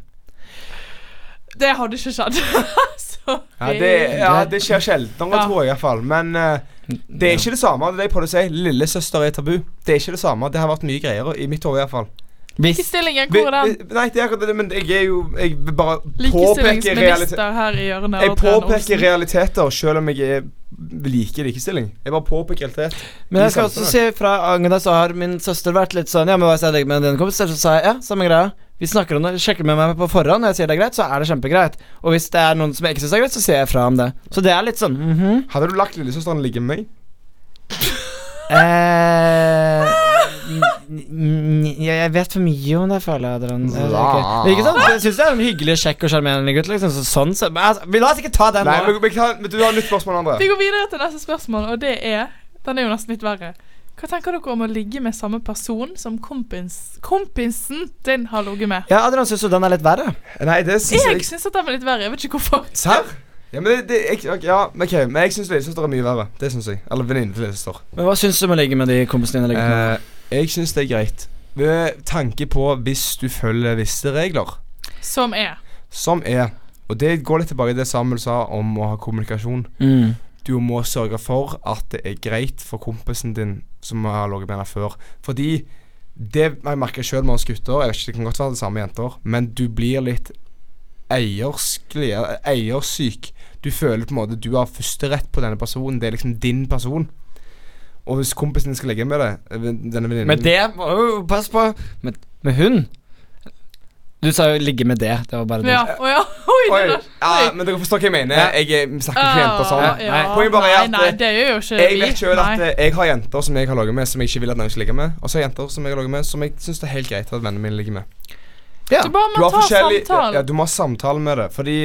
Speaker 2: Det hadde ikke skjedd. Sorry.
Speaker 1: Ja, det, ja, det skjer sjeldnere,
Speaker 2: Ja.
Speaker 1: tror jeg i hvert fall. Men eh, det er ikke det samme. Det er det jeg prøvde å si. Lillesøster er tabu. Det er ikke det samme. Det har vært mye greier i mitt hode i hvert fall.
Speaker 2: Ikke
Speaker 3: Hvis
Speaker 2: stillingen,
Speaker 1: Vi-
Speaker 2: hvor er den?
Speaker 1: vi- Nei, det er akkurat det, men jeg er jo Jeg vil bare påpeker realiteter.
Speaker 2: Likestillingsminister her i hjørnet.
Speaker 1: Jeg
Speaker 2: og Trane
Speaker 1: påpeker
Speaker 2: Olsen.
Speaker 1: realiteter, selv om jeg er liker likestilling. Jeg bare påpeker realitet.
Speaker 3: Men jeg skal også si fra Agnes så har min søster vært litt sånn Ja, men hva hvis jeg legger med den kompisen? Så sa jeg ja, samme greia. Vi snakker om det, sjekker med meg på forhånd, og jeg sier det er greit, så er det kjempegreit. Og hvis det er noen som jeg ikke syns er greit, så sier jeg fra om det. Så det er litt sånn mhm.
Speaker 1: Hadde du lagt lillesøsteren ligge med meg?
Speaker 3: eh, n- n- jeg jeg vet for mye om det, føler jeg. Adrian. Jeg vet ikke. Men ikke sant? Jeg syns det er en hyggelig, kjekk og sjarmerende gutt, liksom. Så sånn så, men, altså, Vi la oss ikke ta den
Speaker 1: Nei,
Speaker 3: nå.
Speaker 1: men, men, kan- men du har nytt spørsmål, André.
Speaker 2: Vi går videre til neste spørsmål, og det er Den er jo nesten litt verre. Hva tenker dere om å ligge med samme person som kompis, kompisen din har ligget med?
Speaker 3: Ja, Adrian syns jo den er litt verre.
Speaker 1: Nei, det syns
Speaker 2: Jeg
Speaker 1: jeg
Speaker 2: syns at den var litt verre. Jeg vet ikke hvorfor.
Speaker 1: Serr? Ja, men det, det jeg, ok, ja, men ok, men jeg syns lillesøster er mye verre. Det syns jeg. Eller venninne til lillesøster.
Speaker 3: Men hva syns du om å ligge med de kompisene dine? Uh,
Speaker 1: Eh, jeg syns det er greit. Med tanke på hvis du følger visse regler,
Speaker 2: Som er.
Speaker 1: som er Og det går litt tilbake til det Samuel sa om å ha kommunikasjon.
Speaker 3: mm.
Speaker 1: du må sørge for at det er greit for kompisen din som har ligget med henne før. Fordi det jeg merker sjøl med oss gutter Jeg vet ikke, Det kan godt være det samme med jenter, men du blir litt eierskelig eiersyk. Du føler på en måte du har førsterett på denne personen. Det er liksom din person. Og hvis kompisen din skal ligge med deg, eh, denne
Speaker 3: Men
Speaker 1: venninnen
Speaker 3: det må jo passe på. Med, med hun? Du sa jo 'ligge med det'. Det var bare det.
Speaker 2: Ja. Å ja. Oi,
Speaker 1: Oi,
Speaker 2: det der.
Speaker 1: ja, men dere forstår hva jeg mener. Jeg eh, snakker ikke om jenter sånn.
Speaker 2: Ah, Ja,
Speaker 1: Poenget bare er at, eh,
Speaker 2: Nei, nei, det gjør jo ikke
Speaker 1: Jeg
Speaker 2: vi.
Speaker 1: vet selv at
Speaker 2: Nei.
Speaker 1: eh, jeg har jenter som jeg har ligget med, som jeg ikke vil at noen skal ligge med. Og så har jeg jenter som jeg har ligget med, som jeg syns det er helt greit at vennene mine ligger med.
Speaker 2: Du bare
Speaker 1: Du
Speaker 2: må
Speaker 1: har
Speaker 2: ta
Speaker 1: forskjellig
Speaker 2: samtalen.
Speaker 1: Ja, du må ha samtale med det. Fordi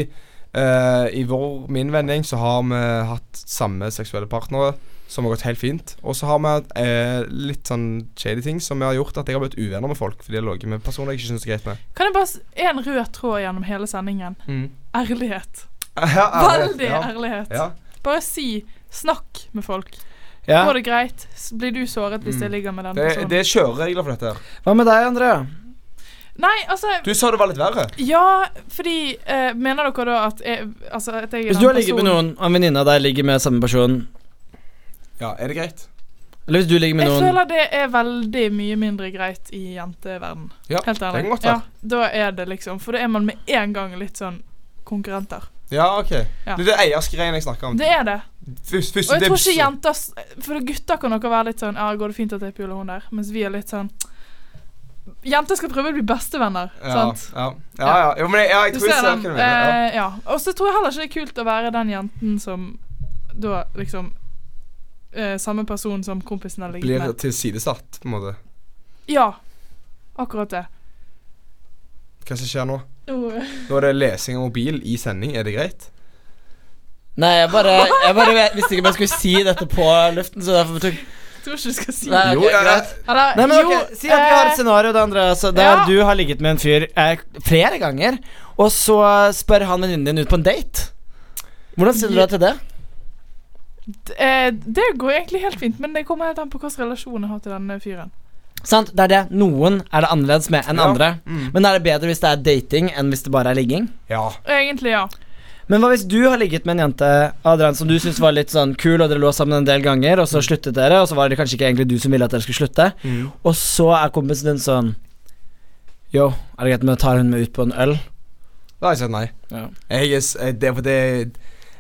Speaker 1: eh, i vår min vending så har vi hatt samme seksuelle partnere, som har gått helt fint. Og så har vi hatt eh, litt sånn shady ting som har gjort at jeg har blitt uvenner med folk fordi jeg har ligget med personer jeg ikke syns er greit med.
Speaker 2: Kan jeg bare s- En rød tråd gjennom hele sendingen.
Speaker 1: Mm.
Speaker 2: Ærlighet.
Speaker 1: Ja, ærlighet,
Speaker 2: Veldig
Speaker 1: ja.
Speaker 2: ærlighet.
Speaker 1: Ja.
Speaker 2: Bare si. Snakk med folk.
Speaker 3: Ja.
Speaker 2: Går det greit? S- Blir du såret hvis jeg ligger med den
Speaker 1: Mm. Det,
Speaker 2: personen?
Speaker 1: det er kjøreregler for dette. her
Speaker 3: Hva med deg, André?
Speaker 2: Nei, altså
Speaker 1: Du sa det var litt verre.
Speaker 2: Ja, fordi eh, Mener dere da at jeg, altså, at jeg er
Speaker 3: Hvis
Speaker 2: den
Speaker 3: du har ligget med
Speaker 2: personen-
Speaker 3: noen, og en venninne av deg ligger med samme person
Speaker 1: Ja, er det greit?
Speaker 3: Eller hvis du ligger med
Speaker 2: Jeg
Speaker 3: noen
Speaker 2: føler det er veldig mye mindre greit i jenteverden.
Speaker 1: Ja,
Speaker 2: Helt ærlig.
Speaker 1: Det kan godt
Speaker 2: ja,
Speaker 1: være.
Speaker 2: da er det liksom For da er man med en gang litt sånn konkurrenter.
Speaker 1: Ja. ok.
Speaker 2: Ja.
Speaker 1: Det er det eierskreien jeg snakker om.
Speaker 2: Det er det.
Speaker 1: Først, først,
Speaker 2: Og jeg
Speaker 1: det-
Speaker 2: tror ikke jenter s- For gutter kan dere være litt sånn Ja, går det fint at jeg puler hun der? Mens vi er litt sånn Jenter skal prøve å bli bestevenner,
Speaker 1: ja,
Speaker 2: sant?
Speaker 1: Ja, ja, ja. Jo, men jeg, ja, jeg
Speaker 2: Du
Speaker 1: tror jeg
Speaker 2: ser
Speaker 1: ser
Speaker 2: den.
Speaker 1: hva du mener. Ja.
Speaker 2: Eh, ja. Og så tror jeg heller ikke det er kult å være den jenten som da liksom eh, Samme person som kompisen har ligget
Speaker 1: Blir
Speaker 2: med.
Speaker 1: tilsidesatt, på en måte.
Speaker 2: Ja, akkurat det.
Speaker 1: Hva som skjer nå?
Speaker 2: Oh.
Speaker 1: Nå er det lesing av mobil i sending. Er det greit?
Speaker 3: Nei, jeg bare, jeg bare vet- visste ikke om jeg skulle si dette på luften, så derfor tok
Speaker 2: Jeg tror ikke du skal si Eh, det.
Speaker 3: Nei, ok,
Speaker 1: Jo, ja,
Speaker 3: greit.
Speaker 2: Eller,
Speaker 3: Nei, men
Speaker 2: jo,
Speaker 3: ok, Si at vi har
Speaker 2: eh,
Speaker 3: et scenario da, André, altså, der
Speaker 2: ja.
Speaker 3: du har ligget med en fyr eh, flere ganger, og så spør han venninnen din ut på en date. Hvordan stiller du deg til det?
Speaker 2: eh, Det går egentlig helt fint, men det kommer helt an på hvilken relasjon jeg har til denne fyren.
Speaker 3: Sant, det er det. Noen er det annerledes med enn
Speaker 1: Ja. Mm.
Speaker 3: andre. Men er det bedre hvis det er dating enn hvis det bare er ligging?
Speaker 1: Ja.
Speaker 2: Egentlig, ja.
Speaker 3: Men hva hvis du har ligget med en jente Adrian, som du syntes var litt sånn kul, og dere lå sammen en del ganger, og så sluttet dere, og så var det kanskje ikke egentlig du som ville at dere skulle slutte,
Speaker 1: Mm.
Speaker 3: og så er kompisen din sånn Yo, er det greit om jeg tar hun med ut på en øl?
Speaker 1: Da har jeg sagt nei.
Speaker 3: Ja.
Speaker 1: Jeg, er s- eh, det er fordi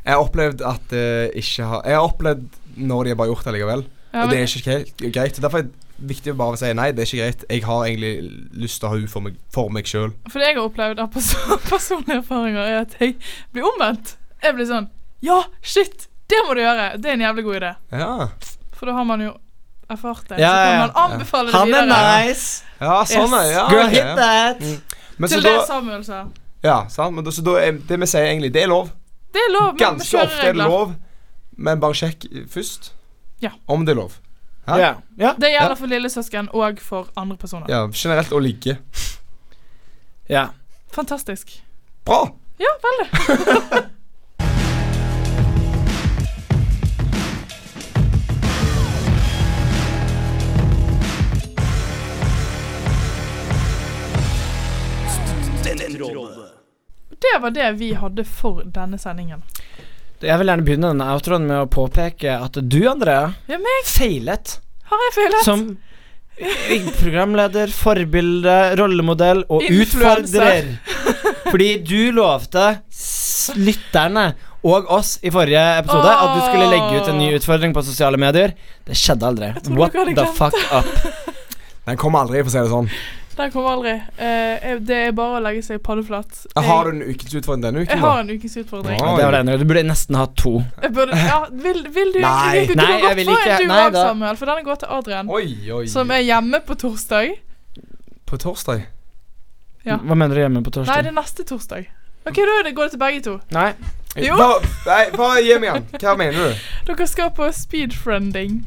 Speaker 1: jeg har opplevd at eh, ikke har Jeg har opplevd når de har bare gjort det likevel.
Speaker 2: ja
Speaker 1: og det
Speaker 2: men,
Speaker 1: er ikke gre- greit. Derfor er det viktig å bare si nei. Det er ikke greit. Jeg har egentlig lyst til å ha henne for meg, for meg sjøl.
Speaker 2: for det jeg har opplevd av perso- personlige erfaringer, er at jeg blir omvendt. Jeg blir sånn Ja, shit! Det må du gjøre! Det er en jævlig god idé.
Speaker 1: Ja.
Speaker 2: For da har man jo erfart det,
Speaker 3: Ja, ja, ja.
Speaker 2: så kan man anbefale
Speaker 3: Han
Speaker 2: det
Speaker 3: er
Speaker 2: videre.
Speaker 3: nice!
Speaker 1: Ja, sånn er det. Ja,
Speaker 3: Girl,
Speaker 1: ok.
Speaker 2: eh.
Speaker 1: Mm.
Speaker 3: hit that!
Speaker 1: Men så
Speaker 2: Til det
Speaker 1: Altså, da,
Speaker 2: Samuel sa.
Speaker 1: ja, sant? Men da, så da er det vi sier egentlig, det er lov.
Speaker 2: Det er lov, men med
Speaker 1: Ganske ofte er det
Speaker 2: kjøreregler.
Speaker 1: lov, men bare sjekk først
Speaker 2: Ja.
Speaker 1: om det er lov. Hæ?
Speaker 3: Ja. Ja.
Speaker 2: Det
Speaker 1: Ja.
Speaker 2: gjelder for lillesøsken og for andre personer.
Speaker 1: Ja, generelt å ligge.
Speaker 3: ja.
Speaker 2: Fantastisk.
Speaker 1: Bra!
Speaker 2: Ja, veldig. Det var det vi hadde for denne sendingen.
Speaker 3: Jeg vil gjerne begynne denne outroen med å påpeke at du, Andrea,
Speaker 2: Ja, meg
Speaker 3: feilet
Speaker 2: har jeg feilet.
Speaker 3: som programleder, forbilde, rollemodell og
Speaker 2: Influencer.
Speaker 3: utfordrer. Fordi du lovte s- lytterne og oss i forrige episode at du skulle legge ut en ny utfordring på sosiale medier. Det skjedde aldri.
Speaker 2: trodde
Speaker 3: What
Speaker 2: dere hadde
Speaker 3: the
Speaker 2: glemt
Speaker 3: fuck up?
Speaker 1: Den kommer aldri, for å si det sånn.
Speaker 2: Den kommer aldri. Eh, jeg- det er bare å legge seg paddeflat.
Speaker 1: Jeg har du en ukens utfordring denne
Speaker 2: jeg
Speaker 1: uken,
Speaker 2: har
Speaker 1: da?
Speaker 2: en ukes utfordring.
Speaker 1: Bra.
Speaker 3: Det var det ene. Du burde nesten ha to.
Speaker 2: Jeg burde, ja, vil, vil du
Speaker 1: Nei.
Speaker 2: vil du, du
Speaker 3: Nei,
Speaker 2: har
Speaker 3: jeg
Speaker 2: gått
Speaker 3: vil
Speaker 2: for
Speaker 3: ikke.
Speaker 2: en du
Speaker 3: Nei,
Speaker 2: òg,
Speaker 3: da-
Speaker 2: Samuel, for denne går til Adrian,
Speaker 1: Oi, oi.
Speaker 2: som er hjemme på torsdag.
Speaker 1: På torsdag.
Speaker 2: Ja.
Speaker 3: Hva mener du hjemme på
Speaker 2: Nei,
Speaker 3: torsdag?
Speaker 2: det er neste torsdag. Ok, da er det- går det til begge to.
Speaker 3: Nei.
Speaker 2: Jo.
Speaker 1: Bare, nei, bare gi meg den. Hva mener du?
Speaker 2: Dere skal på speedfriending.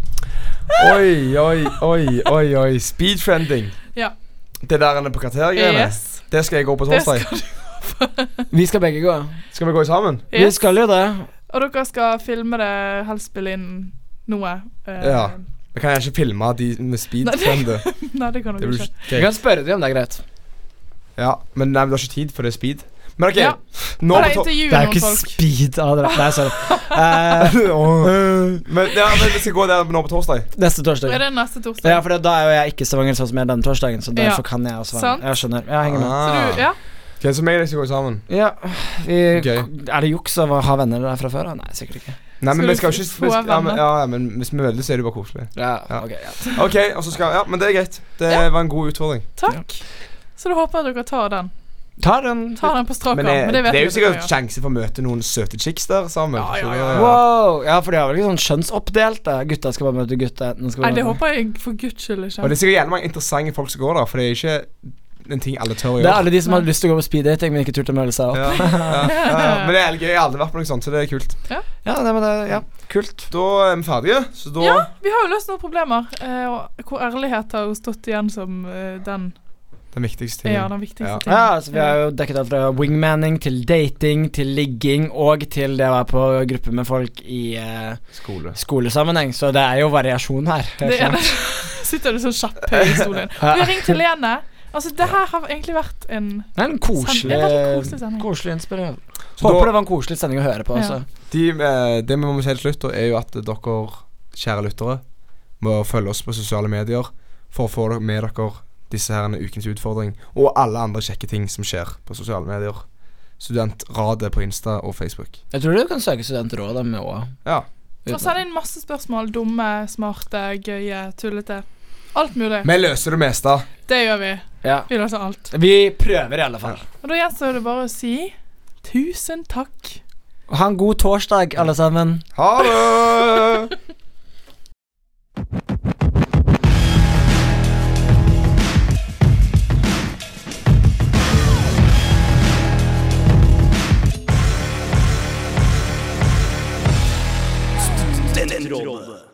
Speaker 1: Oi, oi, oi, oi, oi. Speedfriending.
Speaker 2: Ja.
Speaker 1: Det der han er på kvartergreiene?
Speaker 2: Yes.
Speaker 1: Det skal jeg gå på
Speaker 2: Det
Speaker 1: torsdag.
Speaker 2: skal,
Speaker 3: Vi skal begge gå.
Speaker 1: Skal vi gå sammen?
Speaker 3: Vi
Speaker 2: yes.
Speaker 3: skal jo det.
Speaker 2: Og dere skal filme det, helst spille inn noe. eh,
Speaker 1: Ja. Da kan jeg ikke filme de med speedfriende.
Speaker 2: Nei, det kan
Speaker 1: Det
Speaker 2: dere
Speaker 1: blir
Speaker 2: ikke.
Speaker 3: Vi
Speaker 1: ikke
Speaker 3: kan spørre dem om det er greit.
Speaker 1: Ja, men nei, men du har ikke tid, for det er speed. Men OK,
Speaker 2: Ja.
Speaker 1: nå
Speaker 2: Bare
Speaker 1: på to-
Speaker 2: intervjue
Speaker 3: Det er jo
Speaker 2: noen
Speaker 3: ikke
Speaker 2: folk.
Speaker 3: speed Adrian. Nei, sorry. Eh,
Speaker 1: men, ja, men vi skal gå der nå på torsdag.
Speaker 3: neste
Speaker 2: Er
Speaker 3: torsdag.
Speaker 2: det neste torsdag?
Speaker 3: Ja, for det- da er jo jeg ikke i Stavanger sånn som jeg er denne torsdagen, så derfor
Speaker 2: Ja.
Speaker 3: kan jeg også være
Speaker 2: Sant.
Speaker 3: med. Jeg skjønner. Jeg henger med.
Speaker 2: Så du,
Speaker 1: Ah.
Speaker 2: ja.
Speaker 1: Ok, Så meg og deg skal gå sammen.
Speaker 3: Ja, vi,
Speaker 1: Gøy.
Speaker 3: Er det juks å ha venner der fra før? da? Nei, sikkert ikke.
Speaker 1: Nei, men vi
Speaker 2: Skal du
Speaker 1: skal jo
Speaker 2: få
Speaker 1: ikke vi skal, ja, men,
Speaker 2: venner?
Speaker 1: ja, ja, men hvis vi velger, så er det jo bare koselig.
Speaker 3: Ja,
Speaker 1: Ja.
Speaker 3: ok, ja.
Speaker 1: Ok, og så skal Ja, men det er greit. Det var en god utfordring.
Speaker 2: Takk. Så da håper jeg dere tar den.
Speaker 3: Tar en
Speaker 2: Tar den på strak arm.
Speaker 1: Men eh,
Speaker 2: Men det vet
Speaker 1: det er
Speaker 2: dere
Speaker 1: jo sikkert
Speaker 2: dere gjør.
Speaker 1: sjanse for å møte noen søte chicks der sammen.
Speaker 2: Ja, ja,
Speaker 1: så
Speaker 2: ja,
Speaker 1: det-
Speaker 3: Wow! Ja, for de har vel ikke sånn skjønnsoppdelt? da. Gutta skal bare møte gutta. jentene skal
Speaker 2: Nei,
Speaker 3: bare
Speaker 2: det
Speaker 3: møte-
Speaker 2: håper jeg for guds skyld ikke.
Speaker 1: Og det er sikkert jævlig mange interessante folk som går der, for det er ikke en ting alle tør å
Speaker 3: Det er
Speaker 1: gjøre.
Speaker 3: alle de som hadde lyst til å gå på speeddating, men ikke turte å melde seg opp.
Speaker 1: Ja, ja, ja, men det er jævlig gøy. Jeg har aldri vært på noe sånt, så det er kult.
Speaker 3: Ja, nei, men det, ja. Kult.
Speaker 1: Da er vi ferdige, så da
Speaker 2: Ja, vi har jo løst noen problemer. eh, og hvor ærlighet har jo stått igjen som eh, den
Speaker 1: Den viktigste
Speaker 2: er ja,
Speaker 1: tingen.
Speaker 2: den viktigste
Speaker 1: Ja.
Speaker 2: tingen.
Speaker 3: Ja, altså Vi har jo dekket alt fra wingmanning til dating til ligging og til det å være på gruppe med folk i eh,
Speaker 1: Skole.
Speaker 3: skolesammenheng, så det er jo variasjon her.
Speaker 2: Det er sånn. det. Sitter du så kjapp her i stolen. Vi har ringt til Lene. Altså, det her har egentlig vært en
Speaker 3: Det er en koselig,
Speaker 2: Det er veldig koselig sending.
Speaker 3: koselig innspill.
Speaker 1: Så
Speaker 3: Håper
Speaker 1: da,
Speaker 3: det var en koselig sending å høre på. altså.
Speaker 2: Ja.
Speaker 3: Også.
Speaker 1: de, eh, det vi må si til slutt, da, er jo at dere, kjære lyttere, må følge oss på sosiale medier for å få dere- med dere disse her ukens utfordring og alle andre kjekke ting som skjer på sosiale medier. Studentradet på Insta og Facebook.
Speaker 3: Jeg tror du kan søke studentrådet med òg.
Speaker 1: Ja.
Speaker 2: Og send inn masse spørsmål. Dumme, smarte, gøye, tullete. Alt mulig.
Speaker 1: Vi løser det meste.
Speaker 2: Det gjør vi.
Speaker 3: Ja.
Speaker 2: Vi løser alt.
Speaker 3: Vi prøver i alle fall.
Speaker 2: Og da gjenstår det bare å si tusen takk.
Speaker 3: Ha en god torsdag, alle sammen.
Speaker 1: Ha det!
Speaker 7: Studentrådet.